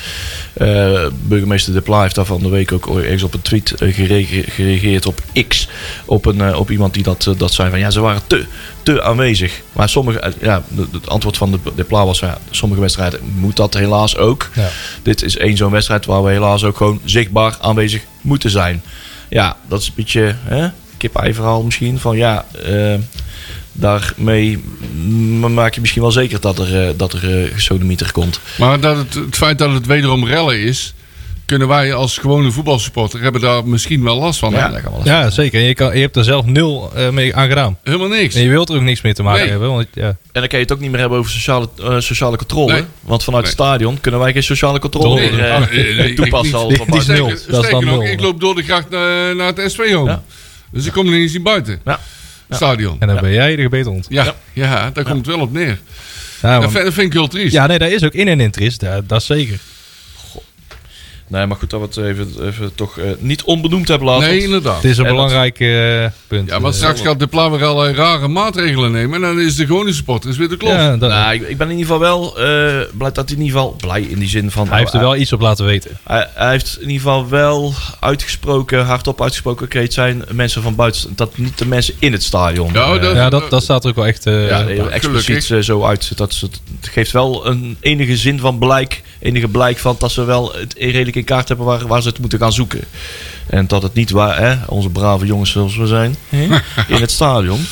Speaker 2: Eh, burgemeester De Pla heeft daar van de week ook ergens op een tweet eh, gerege- gereageerd op X. Op, een, eh, op iemand die dat, eh, dat zei van ja, ze waren te, te aanwezig. Maar sommige, eh, ja, de- de- het antwoord van de, de Pla was van, ja, sommige wedstrijden moet dat helaas ook.
Speaker 4: Ja.
Speaker 2: Dit is één zo'n wedstrijd waar we helaas ook gewoon zichtbaar aanwezig moeten zijn. Ja, dat is een beetje hè, kip-ei verhaal misschien. Van ja, eh, daarmee m- maak je misschien wel zeker dat er, eh, dat er eh, gesodemieter komt.
Speaker 3: Maar dat het, het feit dat het wederom rellen is, kunnen wij als gewone voetbalsupporter hebben daar misschien wel last van. hè?
Speaker 2: dat kan wel eens.
Speaker 4: Ja, zeker. En je, kan, je hebt er zelf nul eh, mee aan gedaan.
Speaker 3: Helemaal niks.
Speaker 4: En je wilt er ook niks mee te maken
Speaker 3: Nee.
Speaker 4: hebben. Want, ja.
Speaker 2: En dan kan je het ook niet meer hebben over sociale, eh, sociale controle.
Speaker 3: Nee.
Speaker 2: Want vanuit
Speaker 3: Nee.
Speaker 2: het stadion kunnen wij geen sociale controle
Speaker 4: Nee.
Speaker 2: meer eh,
Speaker 3: Ah, nee, nee,
Speaker 2: toepassen.
Speaker 3: ik
Speaker 2: al
Speaker 4: niet.
Speaker 2: van
Speaker 4: Die
Speaker 2: buiten.
Speaker 4: is nul.
Speaker 3: Sterker-
Speaker 4: Dat is
Speaker 3: sterker
Speaker 4: dan
Speaker 3: nog,
Speaker 4: nul.
Speaker 3: ik loop door de gracht naar, naar het SV home.
Speaker 2: Ja.
Speaker 3: Dus ik kom er niet eens in buiten.
Speaker 2: Ja.
Speaker 3: Stadion.
Speaker 4: En dan ben jij de gebeten hond.
Speaker 3: Ja, ja. daar komt het wel op neer. Dat
Speaker 4: Ja, want-
Speaker 3: vind, dat vind ik heel triest.
Speaker 4: ja, nee, daar is ook in en in triest. Dat, dat zeker.
Speaker 2: Nee, maar goed dat we het even, even toch eh, niet onbenoemd hebben laten.
Speaker 3: nee,
Speaker 2: Want-
Speaker 3: inderdaad.
Speaker 4: Het is een
Speaker 2: En dat-
Speaker 4: belangrijk eh, punt.
Speaker 3: Ja, maar
Speaker 4: Eh,
Speaker 3: straks gaat de Pla weer allerlei rare maatregelen nemen. En dan is de gewone supporter is weer de klok.
Speaker 4: ja, dat-
Speaker 2: Nou, ik, ik ben in ieder geval wel eh, blij dat hij in ieder geval blij in die zin van.
Speaker 4: hij heeft er wel iets op laten weten.
Speaker 2: Hij, hij heeft in ieder geval wel uitgesproken, hardop uitgesproken, oké, het zijn mensen van buiten, dat niet de mensen in het stadion.
Speaker 3: Ja,
Speaker 2: Eh,
Speaker 3: dat-
Speaker 4: Ja, dat, dat staat er ook wel echt. eh,
Speaker 2: ja,
Speaker 4: op.
Speaker 2: heel expliciet
Speaker 3: gelukkig.
Speaker 2: eh, zo uit. Dat ze, het geeft wel een enige zin van blijk, enige blijk van dat ze wel het redelijk in kaart hebben waar, waar ze het moeten gaan zoeken. En dat het niet waar, hè, onze brave jongens zoals we zijn, in het stadion.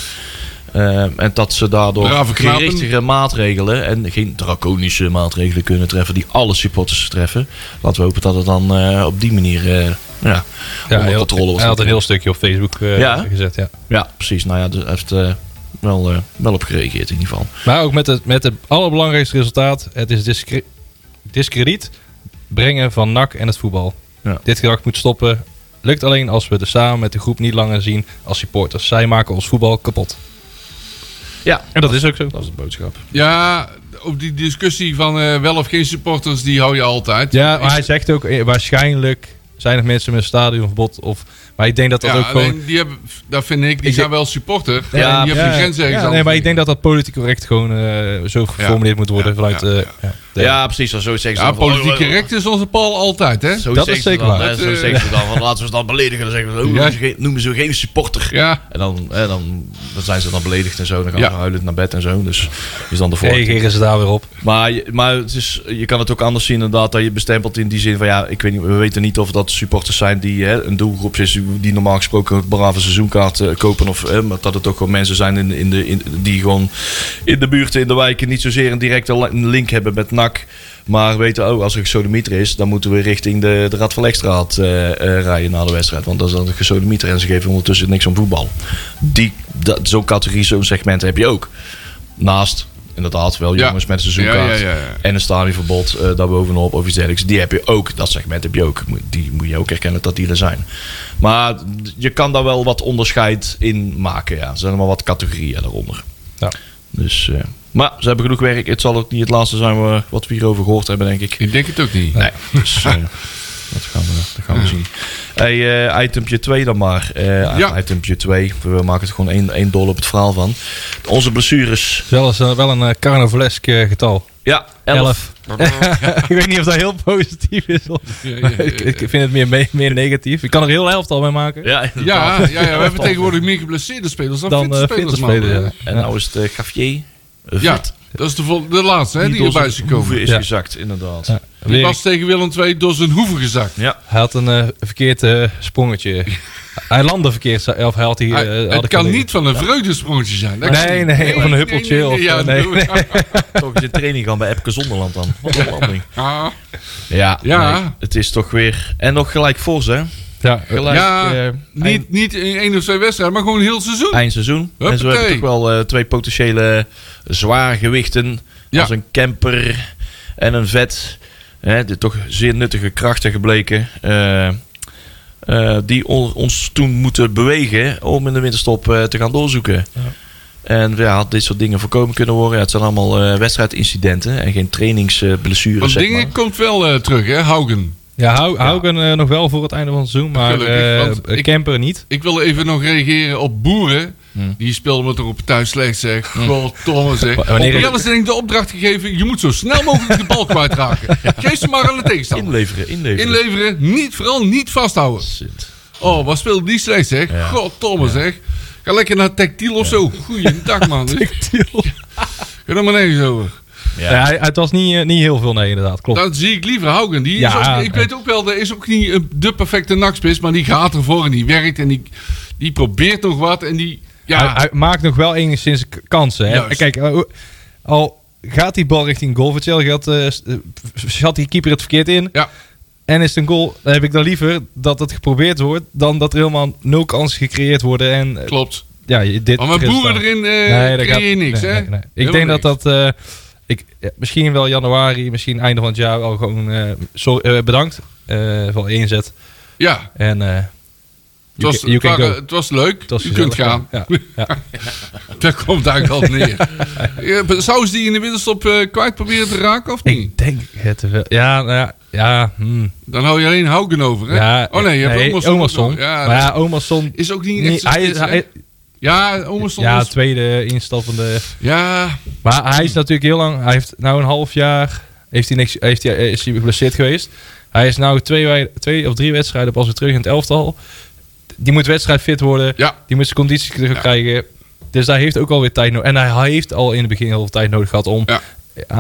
Speaker 2: Eh, Ehm, en dat ze daardoor
Speaker 3: Brave knapen.
Speaker 2: gerichtere maatregelen en geen draconische maatregelen kunnen treffen die alle supporters treffen. Laten we hopen dat het dan eh, op die manier eh, ja, onder
Speaker 4: heel-
Speaker 2: controle was.
Speaker 4: Hij had een heel stukje op Facebook eh,
Speaker 2: Ja?
Speaker 4: gezet, ja.
Speaker 2: Ja, precies. Nou ja, dus hij heeft eh, wel, eh, wel op gereageerd in ieder geval.
Speaker 4: Maar ook met het, met het allerbelangrijkste resultaat. Het is discre- discrediet brengen van NAC en het voetbal.
Speaker 2: Ja.
Speaker 4: Dit gedrag moet stoppen. Lukt alleen als we er samen met de groep niet langer zien als supporters. Zij maken ons voetbal kapot.
Speaker 2: Ja,
Speaker 4: En dat is ook zo.
Speaker 2: dat is de boodschap.
Speaker 3: Ja, op die discussie van eh, wel of geen supporters, die hou je altijd.
Speaker 4: Ja, maar
Speaker 3: Is-
Speaker 4: hij zegt ook eh, waarschijnlijk zijn er mensen met een stadionverbod. Of, maar ik denk dat dat
Speaker 3: ja,
Speaker 4: ook gewoon...
Speaker 3: alleen die hebben, dat vind ik, die
Speaker 4: Ik
Speaker 3: zijn wel supporter.
Speaker 2: Ja,
Speaker 3: en die hebben
Speaker 4: Ja,
Speaker 3: geen grens ergens
Speaker 4: ja, nee,
Speaker 3: anders
Speaker 4: maar ik
Speaker 3: in.
Speaker 4: denk dat dat politiek correct gewoon eh, zo geformuleerd moet worden
Speaker 3: ja,
Speaker 4: vanuit
Speaker 3: ja,
Speaker 4: de... Ja, de-
Speaker 2: Ja, precies. Dan zo zeggen
Speaker 3: Ja,
Speaker 2: ze dan van,
Speaker 3: politiek
Speaker 2: oh, oh, oh,
Speaker 3: correct is onze Paul altijd, hè?
Speaker 2: Zo
Speaker 4: Dat
Speaker 2: zeggen
Speaker 4: is
Speaker 2: ze
Speaker 4: zeker
Speaker 2: dan,
Speaker 4: waar.
Speaker 2: hè, Zo
Speaker 3: Dat, eh,
Speaker 2: zeggen ze dan. van, laten we ze dan beledigen. Dan zeggen ze, oh,
Speaker 3: Ja.
Speaker 2: noemen, ze geen, noemen ze geen supporter.
Speaker 3: Ja.
Speaker 2: En dan, hè, dan, dan zijn ze dan beledigd en zo. Dan gaan
Speaker 3: Ja.
Speaker 2: ze huilend naar bed en zo. Dus is dan de volgende.
Speaker 4: Reageren ze daar weer op.
Speaker 2: Maar, je- maar het is, je kan het ook anders zien inderdaad. Dat je bestempelt in die zin van ja, ik weet niet, we weten niet of dat supporters zijn die hè, een doelgroep is die normaal gesproken een brave seizoenkaart eh, kopen. Of, hè, maar dat het ook gewoon mensen zijn in, in de, in, die gewoon in de buurten, in de wijken niet zozeer een directe li- een link hebben met NAC. Maar weten, oh, als er gesodemieter is, dan moeten we richting de, de Rad van Lekstraat eh, eh, rijden na de wedstrijd. Want dat is dan een gesodemieter en ze geven ondertussen niks om voetbal. Die, dat, zo'n categorie, zo'n segment heb je ook. Naast, inderdaad, wel
Speaker 3: Ja.
Speaker 2: jongens met een seizoenkaart.
Speaker 3: Ja, ja, ja, ja.
Speaker 2: En een stadionverbod eh daarbovenop of iets dergelijks. Die heb je ook. Dat segment heb je ook. Moet- Die moet je ook herkennen dat die er zijn. Maar d- je kan daar wel wat onderscheid in maken. Ja. Er zijn maar wat categorieën daaronder.
Speaker 4: Ja.
Speaker 2: Dus, eh, maar ze hebben genoeg werk. Het zal ook niet het laatste zijn we- wat we hierover gehoord hebben, denk ik.
Speaker 3: Ik denk het ook niet.
Speaker 2: Nee. Dus eh, dat gaan we, dat gaan we zien. Hey, eh itempje 2 dan maar. Eh
Speaker 3: Ja.
Speaker 2: Itempje 2. We maken het gewoon één, één dol op het verhaal van. Onze blessures.
Speaker 4: Wel, is, eh, wel een eh, carnavalesk eh, getal.
Speaker 2: Ja, 11.
Speaker 4: Elf. ik weet niet of dat heel positief is. of- ik, ik vind het meer, me- meer negatief. Ik kan er heel elftal mee maken.
Speaker 2: Ja, inderdaad.
Speaker 3: Ja, ja, ja, we hebben tegenwoordig meer geblesseerde spelers dan,
Speaker 4: Dan
Speaker 3: fitte
Speaker 4: eh
Speaker 3: spelers.
Speaker 4: fitte spelen.
Speaker 3: man.
Speaker 4: Ja.
Speaker 2: En nou is het eh, Gavier. eh,
Speaker 3: Ja,
Speaker 2: vet,
Speaker 3: dat is de, vol- de laatste hè, die
Speaker 2: door
Speaker 3: erbij is
Speaker 2: zijn hoeven
Speaker 3: gekomen.
Speaker 2: is
Speaker 4: Ja.
Speaker 2: gezakt, inderdaad.
Speaker 4: Ja.
Speaker 2: Ja.
Speaker 3: Die
Speaker 4: Weer-
Speaker 3: was tegen Willem II door zijn hoeven gezakt.
Speaker 4: hij had een eh, verkeerd eh, sprongetje. hij landde verkeerd. zo- Of hij had die,
Speaker 3: Hij-
Speaker 4: eh, had
Speaker 3: het
Speaker 4: ik
Speaker 3: kan
Speaker 4: al-
Speaker 3: niet van een vreugdesprongetje zijn. Dat kan
Speaker 4: Nee,
Speaker 3: niet.
Speaker 4: nee, of een huppeltje.
Speaker 3: nee, nee,
Speaker 4: of,
Speaker 3: ja,
Speaker 4: eh, nee.
Speaker 3: doe-
Speaker 2: Toch eens in training gaan bij Epke Zonderland dan. Wat een landing.
Speaker 3: Ah,
Speaker 2: Ja,
Speaker 3: Ja.
Speaker 2: nee, het is toch weer... En nog gelijk voor ze, hè.
Speaker 4: Ja, eh,
Speaker 2: Gelijk
Speaker 3: ja,
Speaker 2: eh, eind,
Speaker 3: niet, niet in één of twee wedstrijden, maar gewoon heel het seizoen.
Speaker 2: eindseizoen. En zo
Speaker 3: Huppatee.
Speaker 2: hebben we toch wel eh, twee potentiële zwaargewichten.
Speaker 3: Ja.
Speaker 2: Als een camper en een vet. Hè, de toch zeer nuttige krachten gebleken. eh, eh, die on- ons toen moeten bewegen om in de winterstop eh, te gaan doorzoeken. En ja, had dit soort dingen voorkomen kunnen worden. Ja, het zijn allemaal eh, wedstrijdincidenten en geen trainingsblessures.
Speaker 3: Want
Speaker 2: zeg
Speaker 3: dingen
Speaker 2: maar.
Speaker 3: komt wel eh, terug, hè, Haugen.
Speaker 4: ja hou, hou ik hem eh, nog wel voor het einde van het seizoen. Maar
Speaker 3: Gelukkig,
Speaker 4: eh,
Speaker 3: want
Speaker 4: eh,
Speaker 3: ik-
Speaker 4: Kemper niet.
Speaker 3: Ik wil even nog reageren op Boeren. Die speelde me toch op tijd slecht, zeg. Goddomme, zeg.
Speaker 4: Hmm. Wa- wanneer-
Speaker 3: Op Jelle denk ik de opdracht gegeven... je moet zo snel mogelijk de bal kwijtraken. Geef ze maar aan de tegenstander.
Speaker 2: Inleveren, inleveren.
Speaker 3: Inleveren, niet, vooral niet vasthouden.
Speaker 2: Zit.
Speaker 3: Oh, wat speelde die slecht, zeg.
Speaker 2: Ja.
Speaker 3: Goddomme, zeg. Ga lekker naar Tactiel of zo. Goeiedag, man. Ga er maar nergens over.
Speaker 2: Ja.
Speaker 4: Ja, hij- het was niet, eh, niet heel veel, nee, inderdaad. Klopt.
Speaker 3: Dan zie ik liever Haugen. Die is
Speaker 4: Oh. Ja.
Speaker 3: ook- ik weet ook wel, er is ook niet een- de perfecte nachtspits... maar die gaat ervoor en die werkt en die, die probeert nog wat. En die...
Speaker 4: Hij,
Speaker 3: Ja,
Speaker 4: hij maakt nog wel enigszins k- kansen. Hè?
Speaker 3: Juist.
Speaker 4: Kijk, eh, al gaat die bal richting goal. Voor hetzelfde geld, eh, s- eh, v- zat die keeper het verkeerd in.
Speaker 3: ja.
Speaker 4: En is het een goal, dan heb ik dan liever dat het geprobeerd wordt... dan dat er helemaal nul kansen gecreëerd worden. En eh,
Speaker 3: klopt.
Speaker 4: ja, je- dit
Speaker 3: Maar met
Speaker 4: resultaat.
Speaker 3: boeren erin eh creëer
Speaker 4: dat
Speaker 3: je
Speaker 4: gaat-
Speaker 3: niks,
Speaker 4: nee,
Speaker 3: hè?
Speaker 4: nee, nee. Ik
Speaker 3: Helemaal
Speaker 4: denk
Speaker 3: niks.
Speaker 4: dat dat... eh, ik, ja, misschien wel januari, misschien einde van het jaar al gewoon eh, sorry, eh, bedankt eh voor inzet.
Speaker 3: Ja,
Speaker 4: En eh,
Speaker 3: het was,
Speaker 4: you can
Speaker 3: het waren-
Speaker 4: go.
Speaker 3: het was leuk.
Speaker 4: het was
Speaker 3: je
Speaker 4: gezellig.
Speaker 3: kunt gaan.
Speaker 4: Ja, ja.
Speaker 3: Daar komt eigenlijk al neer. Ja, Zou ze die in de winterstop eh kwijt proberen te raken of niet?
Speaker 4: Ik denk het wel. Ja, nou ja, ja, hmm.
Speaker 3: Dan hou je alleen Haugen over, hè?
Speaker 4: Ja,
Speaker 3: oh nee, je hebt Omerson.
Speaker 4: Omerson.
Speaker 3: ook nog. Ja,
Speaker 4: maar ja,
Speaker 3: dat
Speaker 4: Omerson...
Speaker 3: is ook niet echt
Speaker 4: Nee,
Speaker 3: zo'n
Speaker 4: hij,
Speaker 3: spits,
Speaker 4: hij-
Speaker 3: hè? Ja, Omerson
Speaker 4: ja,
Speaker 3: is-
Speaker 4: tweede instappende.
Speaker 3: ja,
Speaker 4: Maar hij is natuurlijk heel lang... Hij heeft nou een half jaar... Heeft hij niks, heeft hij, eh, is hij geblesseerd geweest. Hij is nou twee, wij- twee of drie wedstrijden pas weer terug in het elftal. Die moet wedstrijdfit worden.
Speaker 3: ja,
Speaker 4: Die moet zijn conditie terug krijgen. Dus hij heeft ook alweer tijd nodig. En hij heeft al in het begin heel veel tijd nodig gehad om...
Speaker 3: Ja.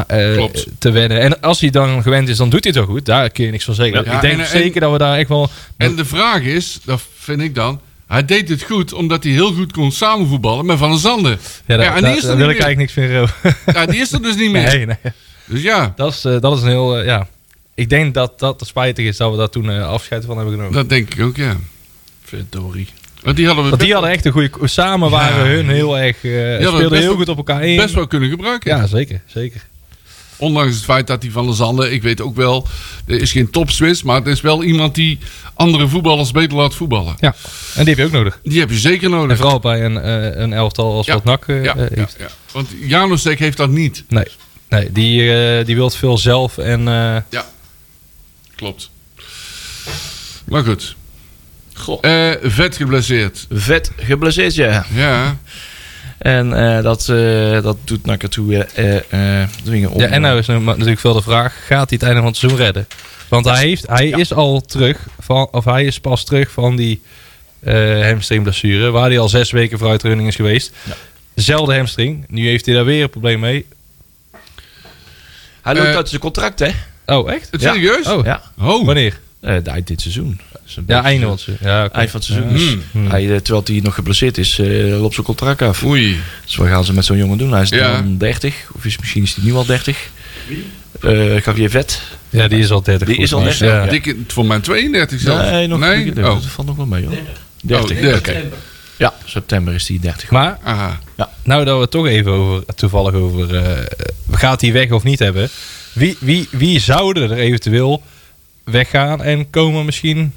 Speaker 4: eh, eh,
Speaker 3: Klopt.
Speaker 4: te wennen. En als hij dan gewend is, dan doet hij het ook goed. Daar kun je niks van zeggen.
Speaker 3: Ja,
Speaker 4: Ik denk
Speaker 3: en- en-
Speaker 4: zeker dat we daar echt wel...
Speaker 3: En de vraag is, dat vind ik dan, Hij deed het goed omdat hij heel goed kon samenvoetballen met Van der Zanden.
Speaker 4: Ja, daar,
Speaker 3: en
Speaker 4: daar-
Speaker 3: die is er
Speaker 4: daar
Speaker 3: niet
Speaker 4: wil
Speaker 3: meer.
Speaker 4: ik eigenlijk niks meer over.
Speaker 3: Ja, die is er dus niet meer.
Speaker 4: nee, nee.
Speaker 3: Dus ja,
Speaker 4: Dat is, eh, dat is een heel, eh, ja. Ik denk dat dat het spijtig is dat we daar toen eh, afscheid van hebben genomen.
Speaker 3: dat denk ik ook, ja.
Speaker 2: Verdorie.
Speaker 3: Want die hadden we
Speaker 4: Want
Speaker 3: best,
Speaker 4: die hadden echt een goede... Samen waren
Speaker 3: Ja.
Speaker 4: hun heel erg... eh speelden
Speaker 3: best
Speaker 4: heel
Speaker 3: wel-
Speaker 4: goed op elkaar in.
Speaker 3: best wel kunnen gebruiken.
Speaker 4: Ja, zeker. Zeker.
Speaker 3: Ondanks het feit dat hij Van der Zanden, ik weet ook wel, er is geen topswitch, maar het is wel iemand die andere voetballers beter laat voetballen.
Speaker 4: Ja. En die heb je ook nodig.
Speaker 3: Die heb je zeker
Speaker 4: En
Speaker 3: nodig.
Speaker 4: vooral bij een, eh, een elftal als
Speaker 3: Ja.
Speaker 4: wat NAC eh,
Speaker 3: ja,
Speaker 4: eh,
Speaker 3: ja,
Speaker 4: heeft.
Speaker 3: ja. Want Janosek heeft dat niet.
Speaker 4: Nee. Nee, die, eh, die wilt veel zelf en... eh,
Speaker 3: Ja, klopt. Maar goed.
Speaker 2: Goh.
Speaker 3: Eh, vet geblesseerd.
Speaker 2: Vet geblesseerd, ja.
Speaker 3: Ja,
Speaker 2: En eh, dat, eh, dat doet Nakker toe eh, eh, eh, dwingen om.
Speaker 4: Ja, en nou is nu ma- natuurlijk wel de vraag: gaat hij het einde van het seizoen redden? Want hij, heeft, hij is al terug van, of hij is pas terug van die eh hamstringblessure, waar hij al zes weken vooruitrunning is geweest.
Speaker 2: Ja.
Speaker 4: Zelfde hamstring. Nu heeft hij daar weer een probleem mee.
Speaker 2: Hij loopt
Speaker 3: eh,
Speaker 2: uit zijn contract, hè?
Speaker 4: Oh, echt?
Speaker 3: het
Speaker 2: Ja.
Speaker 3: serieus?
Speaker 4: Oh,
Speaker 2: Ja,
Speaker 3: Oh.
Speaker 4: Wanneer?
Speaker 2: Eh, de eind dit seizoen. Dat is een
Speaker 4: Ja,
Speaker 2: beetje-
Speaker 4: einde van het seizoen. Hmm. Ja, oké.
Speaker 2: Eind van het seizoen. Dus hij, eh, terwijl hij nog geblesseerd is, eh, loopt zijn contract af.
Speaker 3: Oei.
Speaker 2: Dus wat gaan ze met zo'n jongen doen? Hij is
Speaker 3: Ja.
Speaker 2: dan 30, of is, misschien is hij nu al 30. Wie? Javier Vet.
Speaker 4: Ja, die is al 30.
Speaker 2: Die is al
Speaker 4: volgens mij.
Speaker 2: 30,
Speaker 4: Ja.
Speaker 3: Dikke, voor mijn 32 zelfs.
Speaker 2: Nee, nog
Speaker 3: nee?
Speaker 2: niet.
Speaker 3: Oh.
Speaker 2: Dat valt nog wel mee, hoor. 30.
Speaker 3: Oh, 30.
Speaker 2: Oké. Ja, september is die 30.
Speaker 4: Maar
Speaker 3: Aha.
Speaker 4: nou dat we het toch even over, toevallig over eh, gaat hij weg of niet hebben. Wie, wie, wie zouden er eventueel weggaan en komen misschien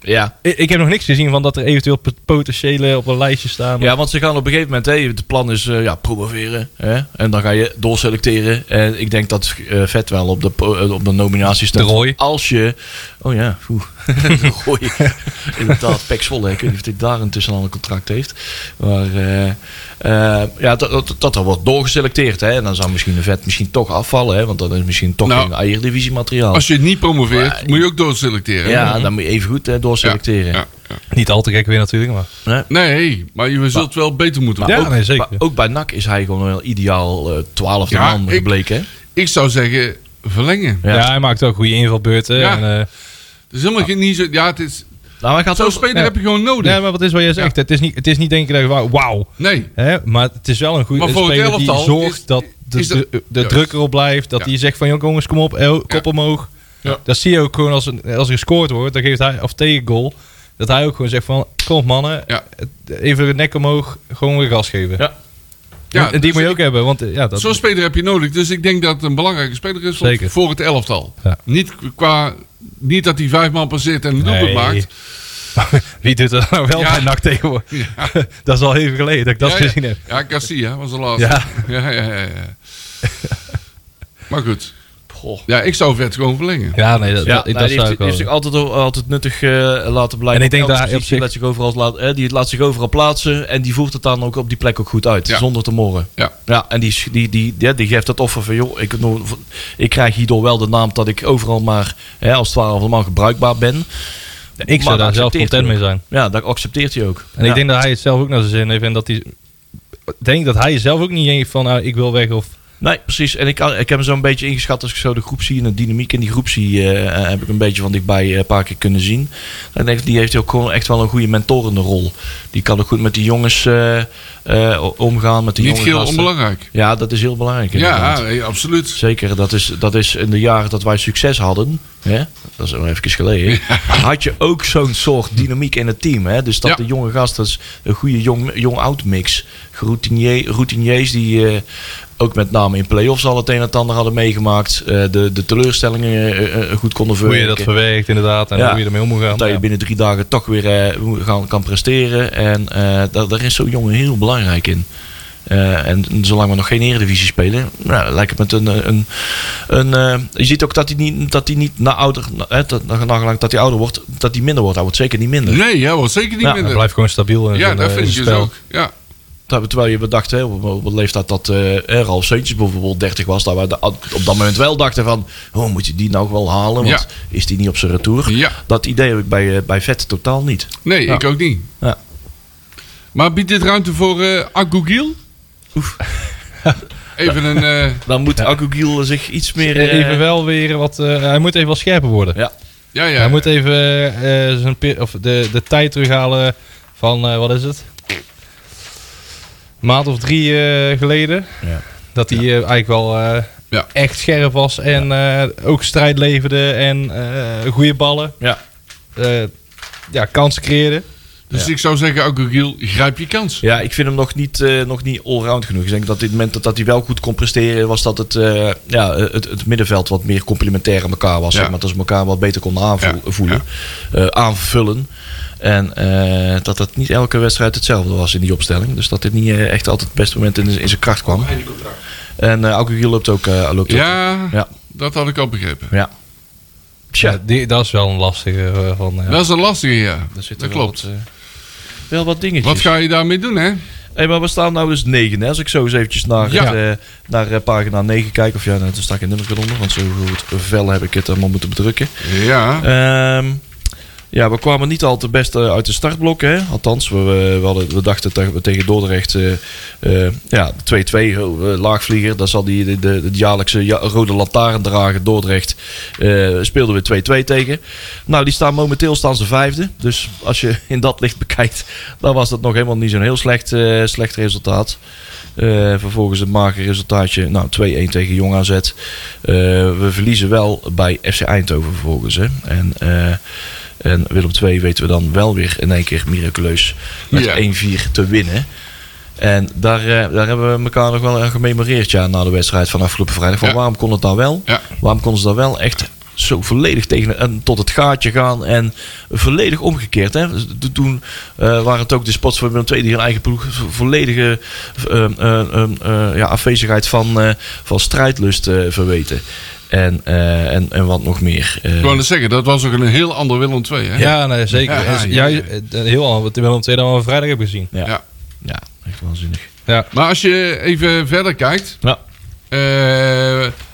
Speaker 2: Ja.
Speaker 4: Ik, ik heb nog niks gezien van dat er eventueel pot- potentiële op een lijstje staan.
Speaker 2: ja, want ze gaan op een gegeven moment... Hé, het plan is eh, ja, promoveren. Hè? En dan ga je doorselecteren. En ik denk dat eh, Vet wel op de, po- eh, op de nominatie staat.
Speaker 4: De Roy.
Speaker 2: Als je... Oh ja, oeh. de Roy. Inderdaad, Pek Zwolle. Ik weet niet of hij daar intussen al een contract heeft. Maar eh, eh, ja, dat, dat, dat er wordt doorgeselecteerd. Hè? En dan zou misschien de Vet misschien toch afvallen. Hè? Want dat is misschien toch
Speaker 3: Nou,
Speaker 2: geen Eredivisie materiaal.
Speaker 3: Als je het niet promoveert,
Speaker 2: Maar-
Speaker 3: moet je ook doorselecteren.
Speaker 2: Ja, dan moet je even goed eh, doorselecteren.
Speaker 3: Ja, ja.
Speaker 4: Niet al te gek weer natuurlijk, maar...
Speaker 3: Nee, maar je zult wel beter moeten
Speaker 4: Ja,
Speaker 3: worden.
Speaker 4: nee, zeker.
Speaker 2: Maar ook bij NAC is hij gewoon wel ideaal eh, twaalfde
Speaker 3: Ja,
Speaker 2: man
Speaker 3: ik-
Speaker 2: gebleken. hè?
Speaker 3: Ik zou zeggen, verlengen.
Speaker 2: Ja.
Speaker 4: Ja. hij maakt ook goede invalbeurten.
Speaker 3: Ja.
Speaker 4: En, eh,
Speaker 3: Het is helemaal geen niet zo... Ja, het is...
Speaker 2: Nou, hij gaat
Speaker 3: Zo'n
Speaker 2: ook
Speaker 3: speler
Speaker 4: ja.
Speaker 3: heb je gewoon nodig.
Speaker 4: nee, maar wat is wat jij zegt. Het, is niet, het is niet denk ik dat je wauw, wauw.
Speaker 3: Nee.
Speaker 4: Hè? Maar het is wel een goede
Speaker 3: Maar voor het
Speaker 4: speler die
Speaker 3: elftal
Speaker 4: zorgt
Speaker 3: is-
Speaker 4: dat de,
Speaker 3: is dat-
Speaker 4: de, de
Speaker 3: juist.
Speaker 4: druk erop blijft. Dat
Speaker 3: Ja.
Speaker 4: hij zegt van joh, jongens, kom op, el- kop
Speaker 3: Ja.
Speaker 4: omhoog.
Speaker 3: Ja.
Speaker 4: Dat zie je ook gewoon als, een- als er gescoord wordt. Dan geeft hij, of tegen goal. Dat hij ook gewoon zegt van kom op mannen.
Speaker 3: Ja.
Speaker 4: Even de nek omhoog. Gewoon weer gas geven.
Speaker 2: Ja.
Speaker 3: Ja,
Speaker 4: en die
Speaker 3: dus
Speaker 4: moet je ook hebben. Want eh, ja, dat,
Speaker 3: Zo'n speler heb je nodig. Dus ik denk dat het een belangrijke speler is voor,
Speaker 4: Zeker.
Speaker 3: voor het elftal.
Speaker 4: Ja.
Speaker 3: Niet, qua, niet dat hij vijf man passeert en een doelpunt
Speaker 4: Nee.
Speaker 3: maakt.
Speaker 4: Wie doet dat nou wel
Speaker 3: Ja.
Speaker 4: bij NAC tegenwoordig?
Speaker 3: Ja.
Speaker 4: Dat is al even geleden dat ik dat
Speaker 3: ja,
Speaker 4: gezien
Speaker 3: ja.
Speaker 4: heb.
Speaker 3: Ja, Garcia was de laatste.
Speaker 4: Ja.
Speaker 3: ja, ja, ja, ja. maar goed.
Speaker 2: Goh.
Speaker 3: Ja, ik zou vet gewoon verlengen.
Speaker 4: Ja, nee, dat,
Speaker 2: Ja,
Speaker 4: dat,
Speaker 2: nou,
Speaker 4: dat
Speaker 2: die
Speaker 4: zou
Speaker 2: heeft,
Speaker 4: ik wel.
Speaker 2: heeft zich altijd, altijd nuttig eh, laten blijken.
Speaker 4: En ik denk
Speaker 2: Elke
Speaker 4: dat hij op
Speaker 2: positie
Speaker 4: zich-
Speaker 2: laat zich overal, laat, eh, die laat zich overal plaatsen. En die voert het dan ook op die plek ook goed uit.
Speaker 3: Ja.
Speaker 2: Zonder te morren.
Speaker 3: Ja.
Speaker 2: Ja, en die, die, die, ja, die geeft dat offer van... joh, ik, ik krijg hierdoor wel de naam dat ik overal maar... Hè, als twaalfde man gebruikbaar ben.
Speaker 4: ik
Speaker 2: Maar
Speaker 4: zou daar
Speaker 2: dat
Speaker 4: zelf
Speaker 2: accepteert
Speaker 4: content
Speaker 2: hij
Speaker 4: mee zijn.
Speaker 2: ook. Ja, dat accepteert hij ook.
Speaker 4: En
Speaker 2: Ja.
Speaker 4: ik denk dat hij het zelf ook naar zijn zin heeft. En dat hij. ik denk dat hij zelf ook niet heeft van nou, ik wil weg of.
Speaker 2: Nee, precies. En ik, kan- ik heb hem zo'n beetje ingeschat als ik zo de groep zie en de dynamiek in die groep zie, eh, eh, heb ik een beetje van dichtbij eh, een paar keer kunnen zien. En ik- die heeft ook gewoon echt wel een goede mentorende rol. Die kan ook goed met die jongens eh, eh, o- omgaan. Met die
Speaker 3: Niet
Speaker 2: jonge
Speaker 3: heel
Speaker 2: gasten.
Speaker 3: onbelangrijk.
Speaker 2: Ja, dat is heel belangrijk.
Speaker 3: Ja,
Speaker 2: inderdaad.
Speaker 3: nee, absoluut.
Speaker 2: Zeker, dat is, dat is in de jaren dat wij succes hadden, hè, dat is al even geleden, had je ook zo'n soort dynamiek in het team. Hè? Dus dat
Speaker 3: Ja.
Speaker 2: de jonge gast, dat is een goede jong-oud mix. Routinier, routiniers die eh, ook met name in play-offs al het een en het ander hadden meegemaakt. eh, de, de teleurstellingen eh, eh, goed konden
Speaker 4: Hoe je
Speaker 2: verwerken.
Speaker 4: dat verwerkt, inderdaad. En
Speaker 2: Ja.
Speaker 4: hoe je ermee om moet gaan.
Speaker 2: Dat je
Speaker 4: Ja.
Speaker 2: binnen drie dagen toch weer eh, moet gaan, kan presteren. En eh, daar, daar is zo'n jongen heel belangrijk in. Eh, en zolang we nog geen eredivisie spelen, nou, lijkt het met een. eh, een, een eh, je ziet ook dat hij niet, dat hij niet na ouder, na, hè, dat, na- nagelang dat hij ouder wordt, dat hij minder wordt. Hij wordt zeker niet minder.
Speaker 3: Nee, ja, wel zeker niet
Speaker 2: Ja,
Speaker 4: Hij
Speaker 3: minder.
Speaker 4: blijft gewoon stabiel. In
Speaker 3: ja,
Speaker 4: zijn,
Speaker 3: dat
Speaker 4: eh,
Speaker 3: vind ik
Speaker 4: zijn
Speaker 3: dus
Speaker 4: spel.
Speaker 3: ook. Ja,
Speaker 2: Ter- Terwijl je bedacht, hè, op, op het leeftijd dat eh er al Seuntjes bijvoorbeeld 30 was, dat we da- op dat moment wel dachten van, oh, moet je die nou wel halen, want is die niet op zijn retour?
Speaker 3: Ja.
Speaker 2: Dat idee heb ik bij, eh, bij Vet totaal niet.
Speaker 3: nee,
Speaker 2: Ja.
Speaker 3: ik ook niet.
Speaker 2: Ja.
Speaker 3: Maar biedt dit ruimte voor eh Agougil?
Speaker 2: Oef.
Speaker 3: Even een... eh,
Speaker 2: Dan moet Agogiel zich iets meer... eh,
Speaker 4: Even wel weer wat. eh, hij moet even wat scherper worden.
Speaker 2: Ja.
Speaker 3: ja, ja.
Speaker 4: hij moet even eh, eh, zijn, pe- of de, de tijd terughalen. Van, eh, wat is het? Een maand of drie eh, geleden.
Speaker 2: Ja.
Speaker 4: Dat hij eh, eigenlijk wel eh,
Speaker 3: Ja.
Speaker 4: echt scherp was. En eh, ook strijd leverde. En eh goede ballen.
Speaker 2: Ja.
Speaker 4: Eh, ja, kansen creëerde.
Speaker 3: Dus ik zou zeggen, ook Giel, grijp je kans.
Speaker 2: Ja, ik vind hem nog niet, eh, nog niet allround genoeg. Ik denk dat dit moment dat, dat hij wel goed kon presteren, was dat het, eh, ja, het, het middenveld wat meer complementair aan elkaar was.
Speaker 3: Ja.
Speaker 2: Zeg maar, dat ze elkaar wat beter konden
Speaker 3: Ja,
Speaker 2: aanvoelen, aanvullen. En eh, dat dat niet elke wedstrijd hetzelfde was in die opstelling. Dus dat dit niet eh, echt altijd het beste moment in, in zijn kracht kwam. En eh Aguil loopt ook. eh, loopt ook.
Speaker 3: Ja,
Speaker 2: Ja.
Speaker 3: dat had ik al begrepen.
Speaker 2: ja. Tja,
Speaker 4: Ja, die, dat is wel een lastige. eh, van, ja.
Speaker 3: Dat is een lastige, ja.
Speaker 2: daar zitten
Speaker 3: Dat
Speaker 2: wel
Speaker 3: klopt.
Speaker 2: Wat, eh, wel wat dingetjes.
Speaker 3: Wat ga je daarmee doen, hè?
Speaker 2: Hey, maar we staan nou dus 9. Hè? Als ik zo eens eventjes naar,
Speaker 3: Ja.
Speaker 2: het, eh, naar eh, pagina 9 kijk. Of ja, nou, toen sta ik een nummer eronder. Want zo goed vel heb ik het allemaal moeten bedrukken.
Speaker 3: Ja.
Speaker 2: Ehm, ja, we kwamen niet al te best eh, uit de startblokken. Hè? Althans, we, we, we hadden, we dachten dat we tegen Dordrecht eh, eh, ja, 2-2, oh, eh, laagvlieger. Daar zal die de, de, de jaarlijkse ja- rode lantaarn dragen. Dordrecht eh, speelden we 2-2 tegen. Nou, die staan momenteel staan ze vijfde. Dus als je in dat licht bekijkt, dan was dat nog helemaal niet zo'n heel slecht, eh, slecht resultaat. Eh, vervolgens een mager resultaatje. Nou, 2-1 tegen Jong AZ. Eh, we verliezen wel bij FC Eindhoven vervolgens. Hè. En, eh, en Willem II weten we dan wel weer in één keer miraculeus met
Speaker 3: Ja.
Speaker 2: 1-4 te winnen. En daar, eh, daar hebben we elkaar nog wel aan gememoreerd ja, na de wedstrijd van afgelopen vrijdag. Van
Speaker 3: Ja.
Speaker 2: waarom kon het dan wel?
Speaker 3: Ja.
Speaker 2: Waarom konden ze dan wel echt zo volledig tegen en tot het gaatje gaan en volledig omgekeerd. Hè? Toen eh, waren het ook de spots van Willem II die hun eigen ploeg vo- volledige eh, eh, eh, eh, ja, afwezigheid van, eh, van strijdlust eh, verweten. En, eh, en, en wat nog meer. Eh,
Speaker 3: Ik wou net zeggen, dat was ook een heel ander Willem II, hè?
Speaker 4: Ja, nee, zeker.
Speaker 3: Ja,
Speaker 4: En
Speaker 3: ja,
Speaker 4: juist,
Speaker 3: ja.
Speaker 4: eh, heel anders. Wat ik wel om tweede dan we vrijdag hebben gezien.
Speaker 2: ja.
Speaker 3: Ja.
Speaker 2: Ja. echt waanzinnig.
Speaker 4: Ja.
Speaker 3: Maar als je even verder kijkt.
Speaker 2: Ja.
Speaker 3: eh,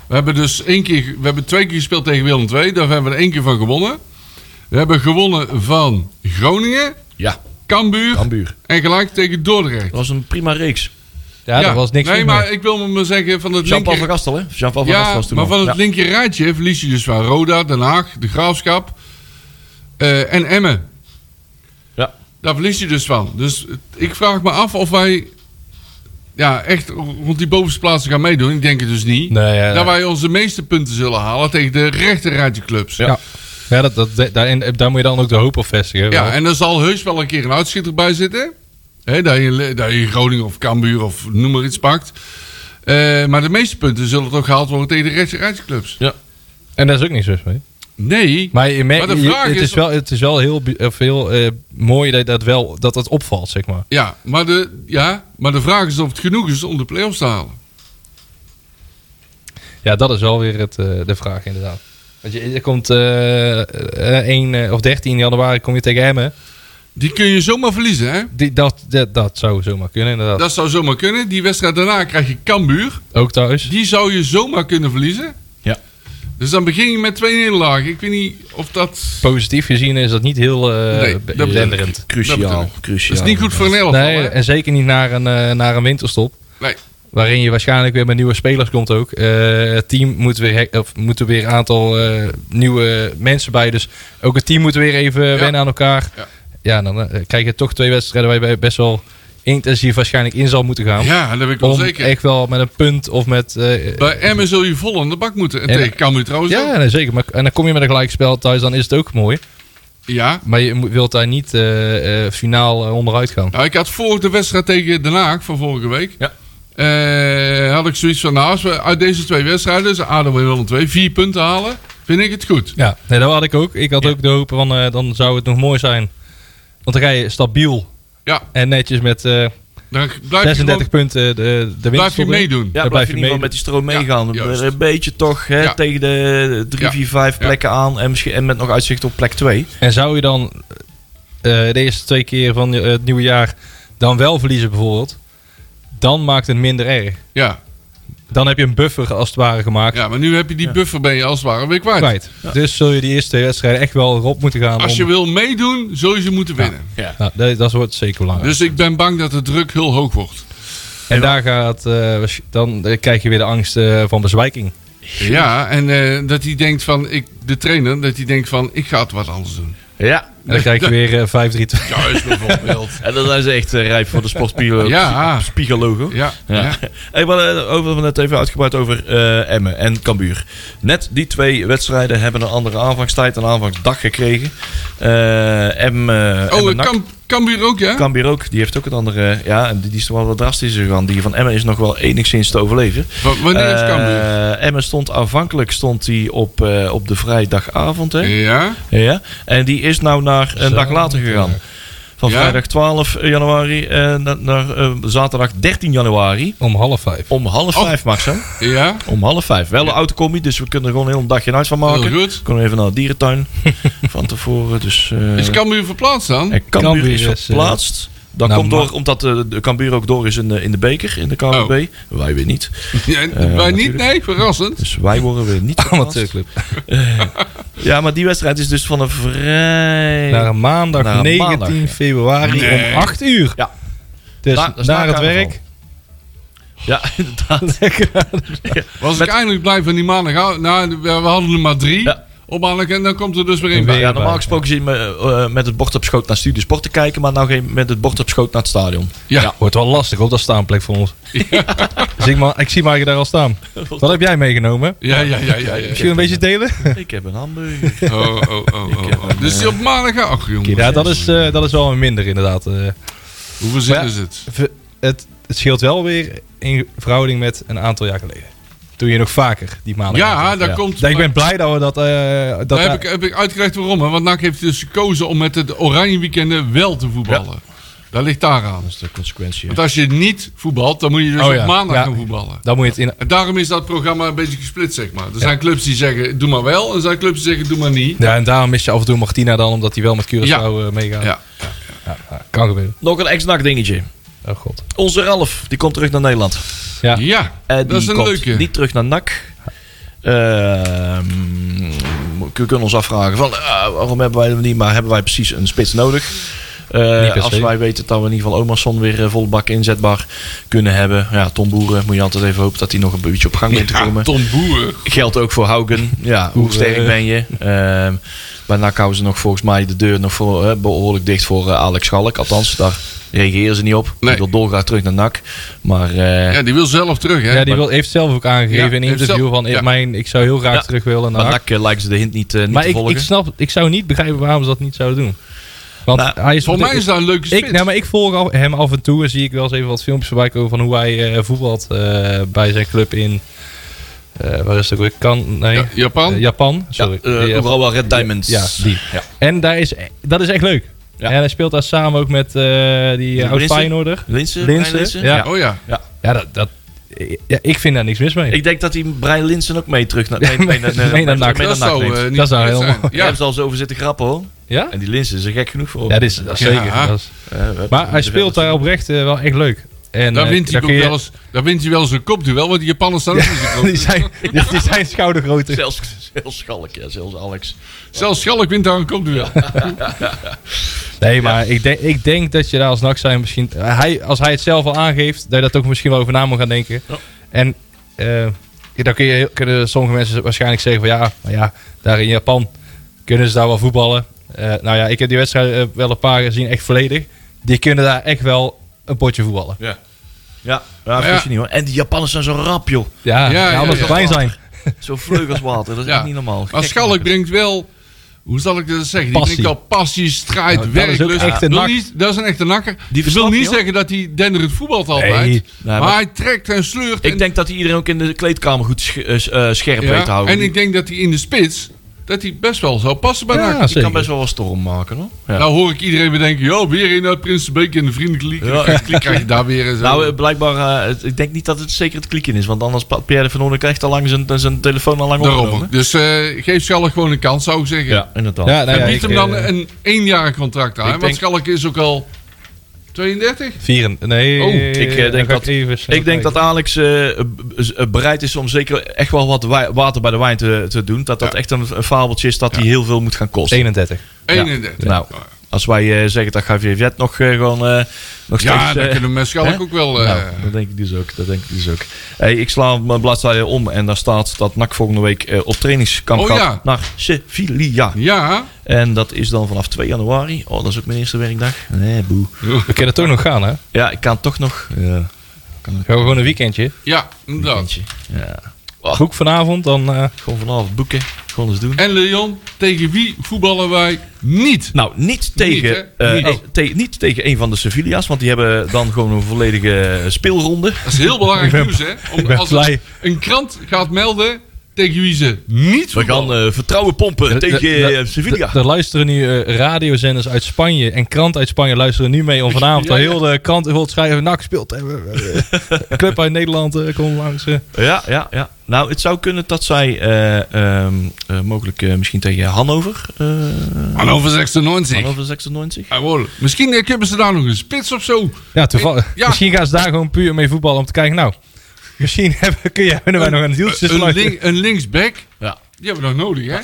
Speaker 3: we hebben dus één keer, ge- we hebben twee keer gespeeld tegen Willem II. Daar hebben we er één keer van gewonnen. We hebben gewonnen van Groningen,
Speaker 2: Ja,
Speaker 3: Cambuur
Speaker 2: Cambuur.
Speaker 3: en gelijk tegen Dordrecht.
Speaker 2: Dat was een prima reeks.
Speaker 4: Ja, dat was niks
Speaker 3: Nee,
Speaker 4: mis
Speaker 3: maar
Speaker 4: mee.
Speaker 3: ik wil maar zeggen van het
Speaker 2: Jean-Paul van
Speaker 3: linker...
Speaker 2: Gastel, hè? Jean-Paul van Gastel
Speaker 3: Ja,
Speaker 2: was toen
Speaker 3: maar
Speaker 2: al.
Speaker 3: van het
Speaker 2: Ja.
Speaker 3: linker rijtje verlies je dus van Roda, Den Haag, De Graafschap eh, en Emmen.
Speaker 2: Ja.
Speaker 3: Daar verlies je dus van. Dus het- ik vraag me af of wij ja, echt rond die bovenste plaatsen gaan meedoen. Ik denk het dus niet.
Speaker 4: Nee, ja,
Speaker 3: Dat
Speaker 4: ja.
Speaker 3: wij onze meeste punten zullen halen tegen de rechter rijtjeclubs.
Speaker 4: Ja. Ja, dat, dat, da- daarin, daar moet je dan ook de hoop op vestigen.
Speaker 3: Ja,
Speaker 4: Want-
Speaker 3: en er zal heus wel een keer een uitschieter bij zitten. Hè, dat, je, dat je Groningen of Cambuur of noem maar iets pakt. Eh, maar de meeste punten zullen toch gehaald worden tegen de rechtse rijtjesclubs.
Speaker 4: en daar is ook niks mis mee.
Speaker 3: Nee.
Speaker 4: Maar, je merkt,
Speaker 3: Maar de
Speaker 4: je-
Speaker 3: vraag
Speaker 4: het, is,
Speaker 3: is-
Speaker 4: wel, het is wel heel, bi- of heel eh, mooi dat dat, wel, dat dat opvalt, zeg maar.
Speaker 3: Ja, maar de, ja, maar de vraag is of het genoeg is om de play-offs te halen.
Speaker 4: Ja, dat is wel weer het, eh, de vraag, inderdaad. Want je, je komt eh, eh, 1 eh, of 13 januari kom je tegen Emmen.
Speaker 3: Die kun je zomaar verliezen, hè?
Speaker 4: Die, dat, dat, dat zou zomaar kunnen, inderdaad.
Speaker 3: Dat zou zomaar kunnen. Die wedstrijd daarna krijg je Cambuur.
Speaker 4: ook thuis.
Speaker 3: Die zou je zomaar kunnen verliezen.
Speaker 2: Ja.
Speaker 3: Dus dan begin je met twee nederlagen. Ik weet niet of dat...
Speaker 4: Positief gezien is dat niet heel eh
Speaker 3: Nee, dat
Speaker 4: be-
Speaker 3: bedoel ik.
Speaker 4: denderend.
Speaker 3: Dat
Speaker 2: Cruciaal,
Speaker 3: bedoel
Speaker 2: cruciaal.
Speaker 3: Dat is niet goed voor een elftal,
Speaker 4: Nee,
Speaker 3: hè?
Speaker 4: en zeker niet naar een, eh, naar een winterstop.
Speaker 3: Nee.
Speaker 4: Waarin je waarschijnlijk weer met nieuwe spelers komt ook. Eh, het team moet weer, hek- of moet er weer een aantal eh, nieuwe mensen bij. Dus ook het team moet weer even wennen aan elkaar.
Speaker 3: Ja.
Speaker 4: Ja, dan eh, krijg je toch twee wedstrijden waar je best wel intensief waarschijnlijk in zal moeten gaan.
Speaker 3: Ja, dat weet ik wel
Speaker 4: om
Speaker 3: zeker.
Speaker 4: echt wel met een punt of met... eh,
Speaker 3: Bij Emmen zul je vol aan de bak moeten. En,
Speaker 4: En-
Speaker 3: tegen Cambuur trouwens ook.
Speaker 4: ja, nee, zeker. Maar, en dan kom je met een gelijkspel thuis, dan is het ook mooi.
Speaker 3: Ja.
Speaker 4: Maar je moet- wilt daar niet eh, eh, finaal eh, onderuit gaan.
Speaker 3: Nou, ik had voor de wedstrijd tegen Den Haag van vorige week...
Speaker 2: Ja.
Speaker 3: eh, had ik zoiets van, nou, als we uit deze twee wedstrijden, dus ADO en Willem II, vier punten halen, vind ik het goed.
Speaker 4: Ja, nee, dat had ik ook. Ik had ook de hoop van, eh, dan zou het nog mooi zijn. Want dan ga je stabiel
Speaker 3: Ja,
Speaker 4: en netjes met eh,
Speaker 3: dan blijf je,
Speaker 4: 36
Speaker 3: gewoon,
Speaker 4: punten eh, de, de winst
Speaker 3: blijf je meedoen.
Speaker 2: Ja, blijf je
Speaker 4: Daar blijf je
Speaker 2: in ieder geval
Speaker 4: mee-
Speaker 2: met die stroom
Speaker 3: Ja,
Speaker 2: meegaan.
Speaker 3: juist.
Speaker 2: een beetje toch hè,
Speaker 3: Ja.
Speaker 2: tegen de 3,
Speaker 3: Ja.
Speaker 2: 4, 5
Speaker 3: Ja.
Speaker 2: plekken aan. En, misschien, en met nog uitzicht op plek 2.
Speaker 4: En zou je dan eh, de eerste twee keer van eh, het nieuwe jaar dan wel verliezen bijvoorbeeld, dan maakt het minder erg.
Speaker 3: Ja.
Speaker 4: Dan heb je een buffer als het ware gemaakt.
Speaker 3: ja, maar nu heb je die buffer ben je als het ware weer kwijt.
Speaker 4: Kwijt. Dus zul je die eerste twee wedstrijden echt wel erop moeten gaan.
Speaker 3: Als je
Speaker 4: om,
Speaker 3: wil meedoen, zul je ze moeten winnen.
Speaker 4: nou, dat, dat wordt zeker belangrijk.
Speaker 3: Dus ik ben bang dat de druk heel hoog wordt.
Speaker 4: en daar gaat, eh, waarsch- dan eh, krijg je weer de angst eh, van bezwijking.
Speaker 3: Ja, en eh, dat hij denkt van, ik, de trainer, dat hij denkt van, ik ga het wat anders doen.
Speaker 2: Ja,
Speaker 4: dan krijg je weer eh, 5-3-2.
Speaker 3: Juist bijvoorbeeld.
Speaker 2: En dan zijn ze echt eh, rijp voor de sportspiegel.
Speaker 3: Ja.
Speaker 2: Spiegellogo.
Speaker 3: Ja, ja.
Speaker 2: Hey, we hadden eh, over, we net even uitgebreid over eh, Emmen en Cambuur. Net die twee wedstrijden hebben een andere aanvangstijd en aanvangsdag gekregen. Eh Emmen,
Speaker 3: Oh,
Speaker 2: Emmen
Speaker 3: eh,
Speaker 2: NAC.
Speaker 3: Kam, Cambuur ook, ja?
Speaker 2: Cambuur ook, die heeft ook een andere. Ja, en die, die is toch wel wat drastischer gegaan. Die van Emmen is nog wel enigszins te overleven.
Speaker 3: Wa- wanneer Oh, is Cambuur?
Speaker 2: Eh, Emmen stond aanvankelijk stond die op, eh, op de vrijdagavond. Hè?
Speaker 3: Ja,
Speaker 2: Ja, en die is nou naar een dag later gegaan. Van
Speaker 3: Ja.
Speaker 2: vrijdag 12 januari eh, na- naar eh, zaterdag 13 januari.
Speaker 4: Om half vijf.
Speaker 2: Om half
Speaker 3: Oh.
Speaker 2: vijf mag zo.
Speaker 3: ja.
Speaker 2: Om half vijf. Wel een autocommie, dus we kunnen er gewoon heel een dagje een uit van maken.
Speaker 3: Heel goed.
Speaker 2: Kunnen we even naar de dierentuin van tevoren. Dus, eh,
Speaker 3: Is Cambuur verplaatst dan?
Speaker 2: en Cambuur,
Speaker 4: Cambuur
Speaker 2: is
Speaker 4: is, eh,
Speaker 2: verplaatst. Dat
Speaker 4: nou,
Speaker 2: komt door,
Speaker 4: maar-
Speaker 2: omdat eh, de Cambuur ook door is in de, in de beker, in de KNVB. Wij weer niet.
Speaker 3: Ja, wij niet, nee, verrassend.
Speaker 2: Dus wij worden weer niet verplaatst.
Speaker 4: Amateurclub.
Speaker 2: Ja, maar die wedstrijd is dus van een vrij...
Speaker 4: Naar een maandag
Speaker 2: Naar een
Speaker 4: 19
Speaker 2: maandag, ja.
Speaker 4: februari
Speaker 3: Nee.
Speaker 4: om 8 uur.
Speaker 2: Ja.
Speaker 4: Dus
Speaker 2: Na- dat is na
Speaker 4: naar het
Speaker 2: carnaval.
Speaker 4: werk.
Speaker 2: Ja, inderdaad.
Speaker 3: Was
Speaker 2: Met-
Speaker 3: ik eindelijk blij van die maandag. Nou, we we hadden er maar drie
Speaker 2: Ja.
Speaker 3: op maandag en dan komt er dus weer één
Speaker 4: En
Speaker 3: bij.
Speaker 4: weer-
Speaker 2: Ja, normaal gesproken zit je me, eh, met het bord op schoot naar Studiosport te kijken, maar nou geen met het bord op schoot naar het stadion.
Speaker 3: Ja.
Speaker 4: Wordt wel lastig op dat staanplek voor ons. Zie ik, maar, ik zie maar je daar al staan. Wat heb jij meegenomen?
Speaker 3: Ja, ja, ja, ja. ja.
Speaker 4: Misschien een beetje delen?
Speaker 2: Ik heb een hamburger.
Speaker 3: Oh, oh, oh, oh, oh. Dus die op maandag, ach jongen.
Speaker 4: Ja, dat is, eh, dat is wel een minder inderdaad. Eh,
Speaker 3: Hoeveel zin
Speaker 4: Maar ja.
Speaker 3: is het?
Speaker 4: v- het, het scheelt wel weer in verhouding met een aantal jaar geleden. Toen je nog vaker die maandag.
Speaker 3: Ja, daar komt.
Speaker 4: Ik ben blij dat we dat... eh, dat
Speaker 3: Daar heb ik, heb ik uitgelegd waarom. Hè? Want NAC heeft dus gekozen om met het Oranje Weekenden wel te voetballen. Daar ligt daar aan.
Speaker 2: Dat is de consequentie.
Speaker 3: Want als je niet voetbalt, dan moet je dus
Speaker 4: Oh
Speaker 3: op
Speaker 4: ja,
Speaker 3: maandag
Speaker 4: ja.
Speaker 3: gaan voetballen.
Speaker 4: Dan moet je het in...
Speaker 3: En daarom is dat programma een beetje gesplit, zeg maar. Er zijn clubs die zeggen, doe maar wel. En er zijn clubs die zeggen, doe maar niet.
Speaker 4: Ja, en daarom mis je af en toe Martina dan, omdat hij wel met Curaçao eh, meegaat.
Speaker 3: Ja.
Speaker 4: Ja, kan gebeuren.
Speaker 2: Nog een ex-nacht dingetje.
Speaker 4: Oh god.
Speaker 2: Onze Ralf, die komt terug naar Nederland.
Speaker 4: Ja.
Speaker 3: Ja,
Speaker 2: Eh,
Speaker 3: dat is een
Speaker 2: komt
Speaker 3: leuke.
Speaker 2: niet terug naar NAC. Ehm, we kunnen ons afvragen van eh, waarom hebben wij hem niet, maar hebben wij precies een spits nodig? Eh,
Speaker 4: Niet per se.
Speaker 2: als wij weten dat we in ieder geval Omerson weer eh, volle bak inzetbaar kunnen hebben. Ja, Tom Boeren, moet je altijd even hopen dat hij nog een beetje op gang bent te
Speaker 3: Ja,
Speaker 2: komen.
Speaker 3: Tom Boer.
Speaker 2: Geldt ook voor Haugen. Ja, hoe eh, sterk ben je? Ehm, bij NAC houden ze nog volgens mij de deur nog voor, eh, behoorlijk dicht voor eh, Alex Schalk. Althans, daar reageren ze niet op.
Speaker 3: Nee.
Speaker 2: Die wil dolgraag terug naar NAC. Maar eh,
Speaker 3: Ja, die wil zelf terug, hè?
Speaker 4: Ja, die wil, heeft zelf ook aangegeven
Speaker 3: Ja,
Speaker 4: in een
Speaker 3: heeft
Speaker 4: interview
Speaker 3: zelf-
Speaker 4: van
Speaker 3: ja.
Speaker 4: ik, mijn, ik zou heel graag
Speaker 2: Ja.
Speaker 4: terug willen naar
Speaker 2: bij
Speaker 4: NAC.
Speaker 2: NAC eh, lijken ze de hint niet, eh, niet
Speaker 4: Maar
Speaker 2: te
Speaker 4: ik,
Speaker 2: volgen.
Speaker 4: ik snap, ik zou niet begrijpen waarom ze dat niet zouden doen. Want
Speaker 2: Nou,
Speaker 4: hij is
Speaker 3: Voor mij is dus dat een leuke spits.
Speaker 4: ik, nou, maar ik volg al- hem af en toe en zie ik wel eens even wat filmpjes voorbij komen van hoe hij eh, voetbalt eh, bij zijn club in. eh, waar is het ook weer? Kan, nee.
Speaker 3: Ja, Japan?
Speaker 4: Eh, Japan,
Speaker 2: ja,
Speaker 4: sorry.
Speaker 2: eh,
Speaker 4: Ja,
Speaker 2: overal wel Red Diamonds.
Speaker 4: Ja, die.
Speaker 2: Ja.
Speaker 4: En daar is, dat is echt leuk.
Speaker 2: Ja.
Speaker 4: En hij speelt daar samen ook met eh die
Speaker 2: Linssen?
Speaker 4: oud Feyenoorder.
Speaker 2: Linsen?
Speaker 4: Linssen,
Speaker 2: Brian Linsen?
Speaker 4: ja.
Speaker 3: Oh ja.
Speaker 4: Ja, dat, dat, ja, ik vind daar niks mis mee.
Speaker 2: Ik denk dat hij Brian Linsen ook mee terug naar, nee,
Speaker 4: Nee,
Speaker 2: mee naar,
Speaker 4: nee,
Speaker 2: mee
Speaker 4: naar NAC.
Speaker 2: mee
Speaker 3: Dat
Speaker 2: naar NAC
Speaker 3: zou
Speaker 2: neemt.
Speaker 3: eh, niet
Speaker 4: Dat zou
Speaker 3: goed
Speaker 4: heel
Speaker 3: zijn.
Speaker 4: mooi.
Speaker 2: Daar
Speaker 3: Ja,
Speaker 2: hebben ze al zo over zitten grappen hoor.
Speaker 4: ja?
Speaker 2: En die Linsen is er gek genoeg voor.
Speaker 4: Ja, dat is, dat is
Speaker 3: Ja. ah.
Speaker 4: zeker. Dat is-
Speaker 2: Eh, we hebben-
Speaker 4: maar hij speelt
Speaker 2: we
Speaker 4: daar
Speaker 2: hebben-
Speaker 4: oprecht eh, wel echt leuk. En,
Speaker 3: daar
Speaker 4: eh,
Speaker 3: wint hij
Speaker 4: dan
Speaker 3: ook
Speaker 4: kun je-
Speaker 3: wel eens, daar wint hij wel eens een kopduel, want die Japanners staan ook niet zo
Speaker 4: die,
Speaker 3: groot.
Speaker 4: zijn, die, die zijn schoudergrootte.
Speaker 2: Zelfs, zelfs Schalk, ja, zelfs Alex.
Speaker 3: Zelfs Schalk wint daar een kopduel.
Speaker 4: Nee, maar ik, denk, ik denk dat je daar als NAC zijn misschien... Hij, als hij het zelf al aangeeft, dat je dat ook misschien wel over na moet gaan denken.
Speaker 2: Ja.
Speaker 4: En eh, dan kun je, heel- kunnen sommige mensen waarschijnlijk zeggen van... Ja, maar ja, daar in Japan kunnen ze daar wel voetballen. Eh, nou ja, ik heb die wedstrijd eh, wel een paar gezien, echt volledig. Die kunnen daar echt wel een potje voetballen.
Speaker 2: Ja. Ja, ja,
Speaker 3: ja.
Speaker 2: vergis je niet hoor. En die Japanners zijn zo rap, joh.
Speaker 4: Ja,
Speaker 3: Ja,
Speaker 4: ja,
Speaker 3: ja,
Speaker 4: anders
Speaker 3: ja.
Speaker 4: klein zijn.
Speaker 2: Zo vleug als water. Dat is
Speaker 3: Ja.
Speaker 2: echt niet normaal.
Speaker 3: Maar
Speaker 2: Gek.
Speaker 3: Schalk brengt wel, hoe zal ik dat zeggen?
Speaker 4: Passie.
Speaker 3: Die brengt wel passie, strijd,
Speaker 4: Nou, dat is ook
Speaker 3: werklust.
Speaker 4: echt een
Speaker 3: Wil
Speaker 4: nak.
Speaker 3: niet- dat is een echte nakker.
Speaker 2: Die
Speaker 3: Dat wil
Speaker 2: verstand
Speaker 3: niet
Speaker 2: niet, hoor.
Speaker 3: zeggen dat hij denderend voetbalt altijd.
Speaker 4: Nee,
Speaker 3: maar,
Speaker 2: maar-
Speaker 3: hij trekt en sleurt. en,
Speaker 2: Ik denk dat hij iedereen ook in de kleedkamer goed sch- eh, s- eh, scherp
Speaker 3: ja,
Speaker 2: weet te houden.
Speaker 3: en ik denk dat hij in de spits, dat hij best wel zou passen bij
Speaker 4: Ja,
Speaker 3: NAC.
Speaker 2: die
Speaker 4: zeker.
Speaker 2: kan best wel wat storm maken, hoor. Ja.
Speaker 3: Nou hoor ik iedereen bedenken, joh, weer in uit Prinsenbeek in de Vriendenkliek.
Speaker 2: Ja.
Speaker 3: En dan krijg je daar weer eens.
Speaker 2: Nou, eh, blijkbaar, eh, het- ik denk niet dat het zeker het klikken is. Want anders, pa- Pierre de Van Orden krijgt al lang zijn, eh, zijn telefoon al lang
Speaker 3: Daarom.
Speaker 2: opgenomen.
Speaker 3: Dus eh, geef Schalk gewoon een kans, zou ik zeggen.
Speaker 2: Ja, inderdaad.
Speaker 4: Ja, nou
Speaker 3: en
Speaker 4: ja,
Speaker 3: bied
Speaker 4: ik,
Speaker 3: hem dan
Speaker 4: eh,
Speaker 3: een eenjarig contract aan.
Speaker 2: ik
Speaker 3: hè, Want
Speaker 2: denk-
Speaker 3: Schalk is ook al 32.
Speaker 4: Vieren. Nee.
Speaker 3: Oh,
Speaker 2: ik, eh, denk
Speaker 4: dan ga
Speaker 2: dat-
Speaker 4: even snel
Speaker 2: Ik denk dat
Speaker 4: kijken.
Speaker 2: Alex eh, b- z- eh, bereid is om zeker echt wel wat wa- water bij de wijn te, te doen. Dat dat echt een, een fabeltje is dat hij heel veel moet gaan kosten.
Speaker 4: 31.
Speaker 3: 31.
Speaker 2: Nou, Als wij eh, zeggen dat GVV nog eh, gewoon eh, nog steeds...
Speaker 3: Ja,
Speaker 2: eh,
Speaker 3: dat kunnen we Schalk
Speaker 2: hè?
Speaker 3: ook wel. eh,
Speaker 2: Nou, dat denk ik dus ook. Dat denk ik dus ook. Hey, ik sla mijn bladzijde om en daar staat dat NAC volgende week eh, op trainingskamp
Speaker 3: Oh,
Speaker 2: gaat
Speaker 3: ja.
Speaker 2: naar Sevilla.
Speaker 3: ja,
Speaker 2: En dat is dan vanaf 2 januari. Oh, dat is ook mijn eerste werkdag. Nee, boe.
Speaker 4: We kunnen toch nog gaan, hè?
Speaker 2: Ja, ik kan toch nog... eh, Ja. Kan
Speaker 4: Gaan we gewoon een weekendje.
Speaker 3: ja, inderdaad.
Speaker 2: ik ja.
Speaker 4: Hoek vanavond, dan... eh,
Speaker 2: Gewoon vanavond boeken. Gewoon eens doen.
Speaker 3: En Leon, tegen wie voetballen wij niet?
Speaker 2: Nou, niet tegen,
Speaker 3: hè?
Speaker 2: eh,
Speaker 3: Niet.
Speaker 2: eh, te- niet tegen een van de Sevilla's, want die hebben dan gewoon een volledige eh, speelronde.
Speaker 3: Dat is heel belangrijk nieuws, hè? Om,
Speaker 4: ben
Speaker 3: als
Speaker 4: blij.
Speaker 3: een krant gaat melden tegen wie ze niet
Speaker 2: We gaan
Speaker 3: voetballen.
Speaker 2: eh, vertrouwen pompen tegen
Speaker 4: de-
Speaker 2: eh, Sevilla.
Speaker 4: de- Er luisteren nu eh, radiozenders uit Spanje en krant uit Spanje luisteren nu mee om vanavond
Speaker 3: Ja,
Speaker 4: al
Speaker 3: ja.
Speaker 4: heel de krant wilt schrijven. Nou, gespeeld hebben. we. Club uit Nederland eh, komt langs. eh.
Speaker 2: Ja, ja, ja. Nou, het zou kunnen dat zij eh, ehm, eh, mogelijk eh, misschien tegen Hannover. eh
Speaker 3: Hannover 96.
Speaker 2: Hannover 96.
Speaker 3: Jawohl. Misschien eh, hebben ze daar nog een spits of zo.
Speaker 4: Eh, Ja, toevallig.
Speaker 3: Ja.
Speaker 4: Misschien gaan ze daar gewoon puur mee voetballen om te kijken. Nou, misschien hebben, kun jij, kunnen wij nog een deeltje
Speaker 3: Eh, een,
Speaker 4: sluiten.
Speaker 3: link- een linksback.
Speaker 2: Ja.
Speaker 3: Die hebben we nog nodig, hè?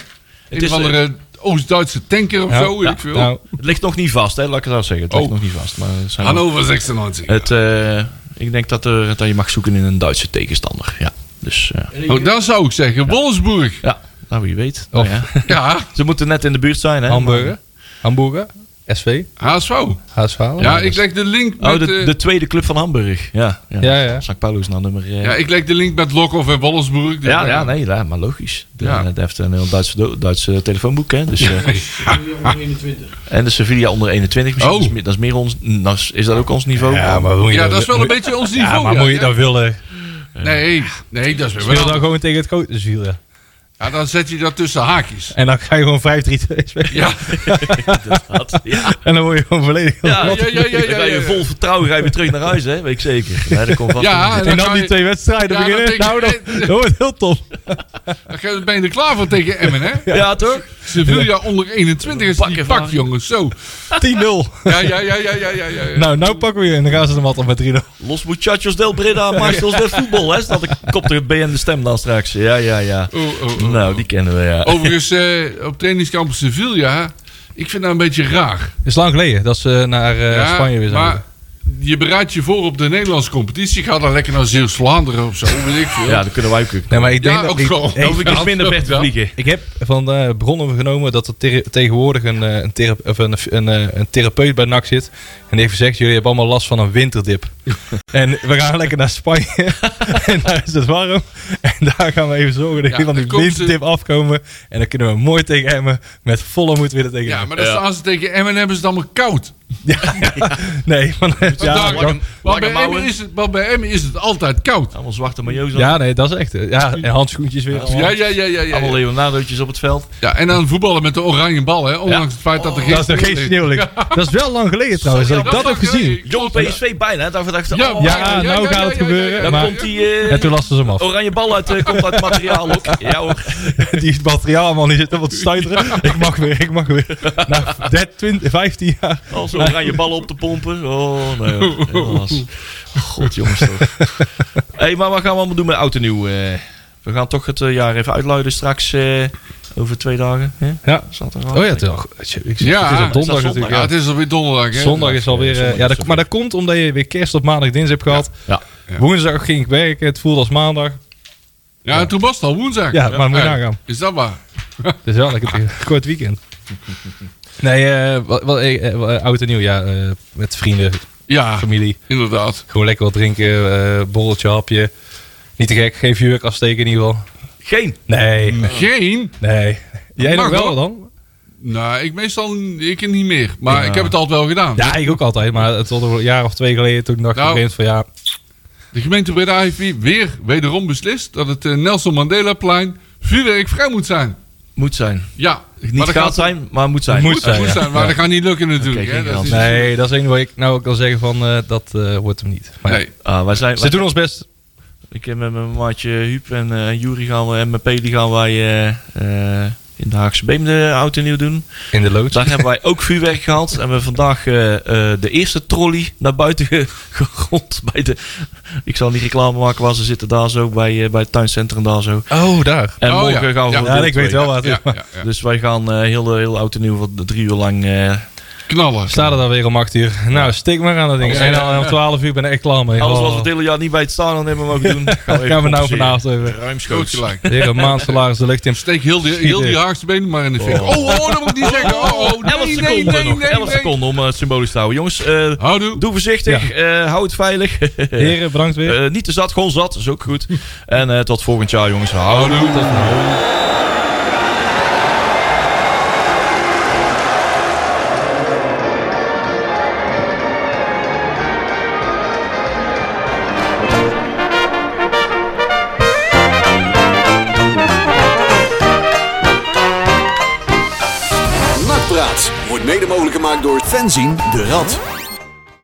Speaker 3: Een
Speaker 2: is,
Speaker 3: of andere Oost-Duitse tanker of
Speaker 4: Nou,
Speaker 3: zo. weet
Speaker 4: nou,
Speaker 3: ik veel.
Speaker 4: nou,
Speaker 2: Het ligt nog niet vast, hè, laat ik het zo zeggen. Het
Speaker 3: Oh.
Speaker 2: ligt nog niet vast. Maar het zijn wel-
Speaker 3: Hannover 96.
Speaker 2: het, eh, ik denk dat, er, dat je mag zoeken in een Duitse tegenstander. Ja, dus eh,
Speaker 3: oh, dan zou ik zeggen Wolfsburg.
Speaker 2: ja, nou wie weet.
Speaker 4: Of-
Speaker 2: Nou ja.
Speaker 3: Ja,
Speaker 2: Ze moeten net in de buurt zijn, hè?
Speaker 4: Oh. Hamburger. Hamburger. SV.
Speaker 3: HSV.
Speaker 4: HSV.
Speaker 3: Ja, ik leg de link met,
Speaker 2: Oh, de,
Speaker 3: eh,
Speaker 2: de tweede club van Hamburg. Ja, ja.
Speaker 4: Ja, ja.
Speaker 2: St. Paulo is nou nummer... eh,
Speaker 3: ja, ik leg de link met Lokhoff en Wolfsburg. Dus
Speaker 2: ja,
Speaker 3: dan-
Speaker 2: ja, nee, ja, maar logisch. De,
Speaker 3: Ja.
Speaker 2: Dat heeft een heel Duitse, do- Duitse telefoonboek, hè. Dus, eh, en de Sevilla onder 21 misschien.
Speaker 3: Oh.
Speaker 2: Dat, is, meer- dat is meer ons... Dat is, is dat ook ons niveau?
Speaker 4: maar moet
Speaker 3: Ja, dat is wel een beetje ons niveau.
Speaker 4: Ja, maar
Speaker 3: ja,
Speaker 4: moet je
Speaker 3: ja.
Speaker 4: dat willen?
Speaker 3: Nee, nee, dat is weer
Speaker 4: Speel
Speaker 3: wel.
Speaker 4: dan gewoon tegen het grote Zwiel.
Speaker 3: Ja, dan zet je dat tussen haakjes.
Speaker 4: En dan ga je gewoon 5-3-2 spelen.
Speaker 3: Ja,
Speaker 2: Inderdaad, ja.
Speaker 4: En dan word je gewoon volledig.
Speaker 2: Ja,
Speaker 3: ja, ja, ja,
Speaker 2: Dan ga
Speaker 3: ja,
Speaker 2: je
Speaker 3: ja.
Speaker 2: vol vertrouwen ga je weer terug naar huis, hè? Weet ik zeker. Ja, dat komt vast
Speaker 3: ja
Speaker 2: wel.
Speaker 3: en
Speaker 4: En
Speaker 3: dan,
Speaker 4: dan
Speaker 3: ga
Speaker 4: die
Speaker 3: je,
Speaker 4: twee wedstrijden
Speaker 3: Ja, dat
Speaker 4: beginnen.
Speaker 3: denk
Speaker 4: Nou,
Speaker 3: ik- eh,
Speaker 4: dan, dat wordt heel tof.
Speaker 3: dan ga je- ben je er klaar voor tegen Emmen, hè?
Speaker 2: ja, toch?
Speaker 3: Sevilla onder 21 is die pak, jongens. Zo.
Speaker 4: 10-0.
Speaker 3: Ja, ja, ja, ja, ja, ja. ja, ja.
Speaker 4: Nou, nou pakken we je. En dan gaan ze hem altijd met 3-0.
Speaker 2: Los muchachos del Breda, maestros del voetbal, hè? Staat de kop er BN de stem dan straks. Ja, ja, ja.
Speaker 3: Oh, oh, oh.
Speaker 2: Nou, die kennen we, ja.
Speaker 3: Overigens, eh, op trainingskamp Sevilla, ik vind dat een beetje raar.
Speaker 4: is lang geleden dat ze naar eh,
Speaker 3: Ja,
Speaker 4: Spanje weer zijn.
Speaker 3: maar je bereidt je voor op de Nederlandse competitie. Ga dan lekker naar Zeeuws-Vlaanderen of zo, weet ik veel.
Speaker 2: Ja, dat kunnen wij ook.
Speaker 4: Nee, maar ik denk
Speaker 3: Ja,
Speaker 4: dat
Speaker 3: ook
Speaker 4: ik,
Speaker 3: gewoon.
Speaker 4: ik,
Speaker 2: Of ik is minder vet
Speaker 3: Ja.
Speaker 2: vliegen.
Speaker 4: ik heb van eh, bronnen genomen dat er ter- tegenwoordig een, eh, een, thera- of een, een, eh, een therapeut bij NAC zit. En die heeft gezegd, jullie hebben allemaal last van een winterdip. en we gaan lekker naar Spanje. en daar is het warm. En daar gaan we even zorgen dat
Speaker 3: Ja,
Speaker 4: jullie van
Speaker 3: dan
Speaker 4: die
Speaker 3: komen ze-
Speaker 4: winterdip afkomen. En dan kunnen we mooi tegen Emmen met volle moed willen tegen
Speaker 3: Ja,
Speaker 4: Emmen.
Speaker 3: maar dan staan ze tegen Emmen en hebben ze het allemaal koud.
Speaker 4: Nee, van,
Speaker 3: Ja,
Speaker 4: ja,
Speaker 3: maar,
Speaker 4: dan-
Speaker 3: bij
Speaker 2: Langemouwen.
Speaker 3: Emmen is het, maar bij Emmen is het altijd koud.
Speaker 2: Allemaal zwarte majo's. aan.
Speaker 4: ja, nee, dat is echt. eh, Ja, en handschoentjes weer.
Speaker 3: Ja, ja, ja, ja. ja,
Speaker 2: Allemaal
Speaker 3: ja.
Speaker 2: Leonardootjes op het veld.
Speaker 3: ja en dan voetballen met de oranje bal, hè. Ondanks
Speaker 2: Ja.
Speaker 3: het feit dat er geen
Speaker 4: Oh, Dat is nog geen sneeuw ligt. Dat is wel lang geleden trouwens dat ik dat heb gezien.
Speaker 2: Jong PSV bijna, daarvoor dachten
Speaker 3: Ja,
Speaker 2: oh,
Speaker 4: Ja,
Speaker 3: ja, ja,
Speaker 4: nou
Speaker 3: ja,
Speaker 4: gaat
Speaker 3: ja,
Speaker 4: het
Speaker 3: ja,
Speaker 4: gebeuren.
Speaker 3: ja, ja,
Speaker 2: daar
Speaker 4: maar
Speaker 2: komt die eh,
Speaker 4: en toen lasten ze hem af.
Speaker 2: oranje bal uit, eh, komt uit materiaal ook. Ja hoor.
Speaker 4: Die het materiaal allemaal niet zitten wat te stuiteren. Ik mag weer, ik mag weer. Na 20, 15 jaar.
Speaker 2: Al zo'n oranje ballen op te pompen. Oh, nee. hoor. Helaas. God, jongens toch. hey, maar wat gaan we allemaal doen met oud en nieuw? eh? we gaan toch het eh, jaar even uitluiden straks. eh, over twee dagen. Hè?
Speaker 4: Ja.
Speaker 2: Zaterdag.
Speaker 4: Oh ja, toch. Ik zie,
Speaker 3: Ja,
Speaker 4: het
Speaker 3: het
Speaker 4: is op
Speaker 3: is
Speaker 2: zondag.
Speaker 4: donderdag natuurlijk.
Speaker 3: Ja,
Speaker 4: ja.
Speaker 3: het is alweer donderdag, hè.
Speaker 4: Zondag is alweer. eh, ja, dat, maar dat komt omdat je weer kerst op maandag, dinsdag hebt gehad.
Speaker 2: Ja.
Speaker 4: Woensdag ging ik werken. Het voelde als maandag.
Speaker 3: Ja, en toen was het al woensdag.
Speaker 4: Ja, maar moet je
Speaker 3: Ja.
Speaker 4: nagaan.
Speaker 3: Is dat waar?
Speaker 4: Het is wel lekker een kort weekend. Nee, eh, wat, wat, eh, eh, wat, eh, oud en nieuw. Ja, eh, met vrienden,
Speaker 3: Ja,
Speaker 4: familie.
Speaker 3: inderdaad.
Speaker 4: Gewoon lekker wat drinken. eh, borreltje, hapje. Niet te gek. Geen vuurwerk afsteken in ieder geval.
Speaker 2: Geen.
Speaker 4: Nee.
Speaker 3: Geen?
Speaker 4: Nee. Jij
Speaker 3: Mag
Speaker 4: nog wel
Speaker 3: hoor.
Speaker 4: dan?
Speaker 3: Nou, ik meestal ik niet meer. Maar
Speaker 4: Ja.
Speaker 3: ik heb het altijd wel gedaan.
Speaker 4: Ja, ik ook altijd. Maar het was een jaar of twee geleden toen dacht ik
Speaker 3: Nou.
Speaker 4: op een gegeven moment van
Speaker 3: De gemeente Breda heeft wie- weer wederom beslist dat het eh, Nelson Mandelaplein vuurwerkvrij moet zijn.
Speaker 2: Moet zijn.
Speaker 3: Ja,
Speaker 2: Niet gaat
Speaker 3: dat
Speaker 2: zijn, maar moet zijn.
Speaker 4: Moet
Speaker 3: moet,
Speaker 4: zijn,
Speaker 3: moet
Speaker 4: ja.
Speaker 3: zijn, maar
Speaker 4: Ja.
Speaker 3: dat gaat niet lukken natuurlijk.
Speaker 2: Oké,
Speaker 3: hè.
Speaker 2: geen
Speaker 3: Dat is-
Speaker 4: ja, nee, dat is één waar ik nou ook kan zeggen van eh, dat eh, wordt hem niet. Maar ja,
Speaker 3: nee.
Speaker 2: Ah, wij zijn,
Speaker 4: Ze doen ons best.
Speaker 2: Ik heb met mijn maatje Huub en eh, en Juri gaan we en met Peli gaan wij eh, eh, in de Haagse Beem de oud en nieuw doen.
Speaker 4: In de loods.
Speaker 2: Daar hebben wij ook vuurwerk gehad. En we hebben vandaag eh, eh, de eerste trolley naar buiten ge- gerond. Bij de, ik zal niet reclame maken, maar ze zitten daar zo bij, eh, bij het tuincentrum daar zo.
Speaker 4: Oh, daar.
Speaker 2: En
Speaker 3: Oh,
Speaker 2: morgen
Speaker 3: ja.
Speaker 2: gaan we
Speaker 3: Ja.
Speaker 2: voor
Speaker 4: Ja,
Speaker 2: deel
Speaker 4: ik weet
Speaker 2: twee.
Speaker 4: wel waar het
Speaker 3: Ja,
Speaker 4: is.
Speaker 3: ja,
Speaker 4: maar-
Speaker 3: ja.
Speaker 2: Dus wij gaan eh, heel, heel oud en nieuw wat drie uur lang eh,
Speaker 3: knallen.
Speaker 4: Staat er dan weer om 8 uur. Nou, stik maar aan dat ding. En dan om 12 uur ben ik echt klaar mee.
Speaker 2: Alles wat we
Speaker 4: Oh.
Speaker 2: het hele jaar niet bij het staan aan hebben mogen doen. Gaan
Speaker 4: Gaan we nou
Speaker 2: compenseren.
Speaker 4: vanavond even.
Speaker 3: Groot
Speaker 2: Ruimschoots.
Speaker 3: gelijk.
Speaker 4: Weer een maand salaris de lucht in.
Speaker 3: Steek heel die, heel die haagse benen maar in de fik. Oh, oh, dat moet ik niet zeggen. Oh, oh, nee,
Speaker 2: 11
Speaker 3: nee,
Speaker 2: seconden
Speaker 3: nee, nee,
Speaker 2: nog. 11
Speaker 3: nee.
Speaker 2: seconden om eh, het symbolisch te houden. Jongens, eh,
Speaker 4: Oh.
Speaker 3: Houdoe.
Speaker 2: doe voorzichtig. eh, hou het veilig.
Speaker 4: Heren, bedankt weer.
Speaker 2: Eh, niet te zat, gewoon zat. is ook goed. en eh, tot volgend jaar, jongens. Hou
Speaker 3: Houdoe.
Speaker 1: Nakpraat wordt mede mogelijk gemaakt door Fenzin de Rad.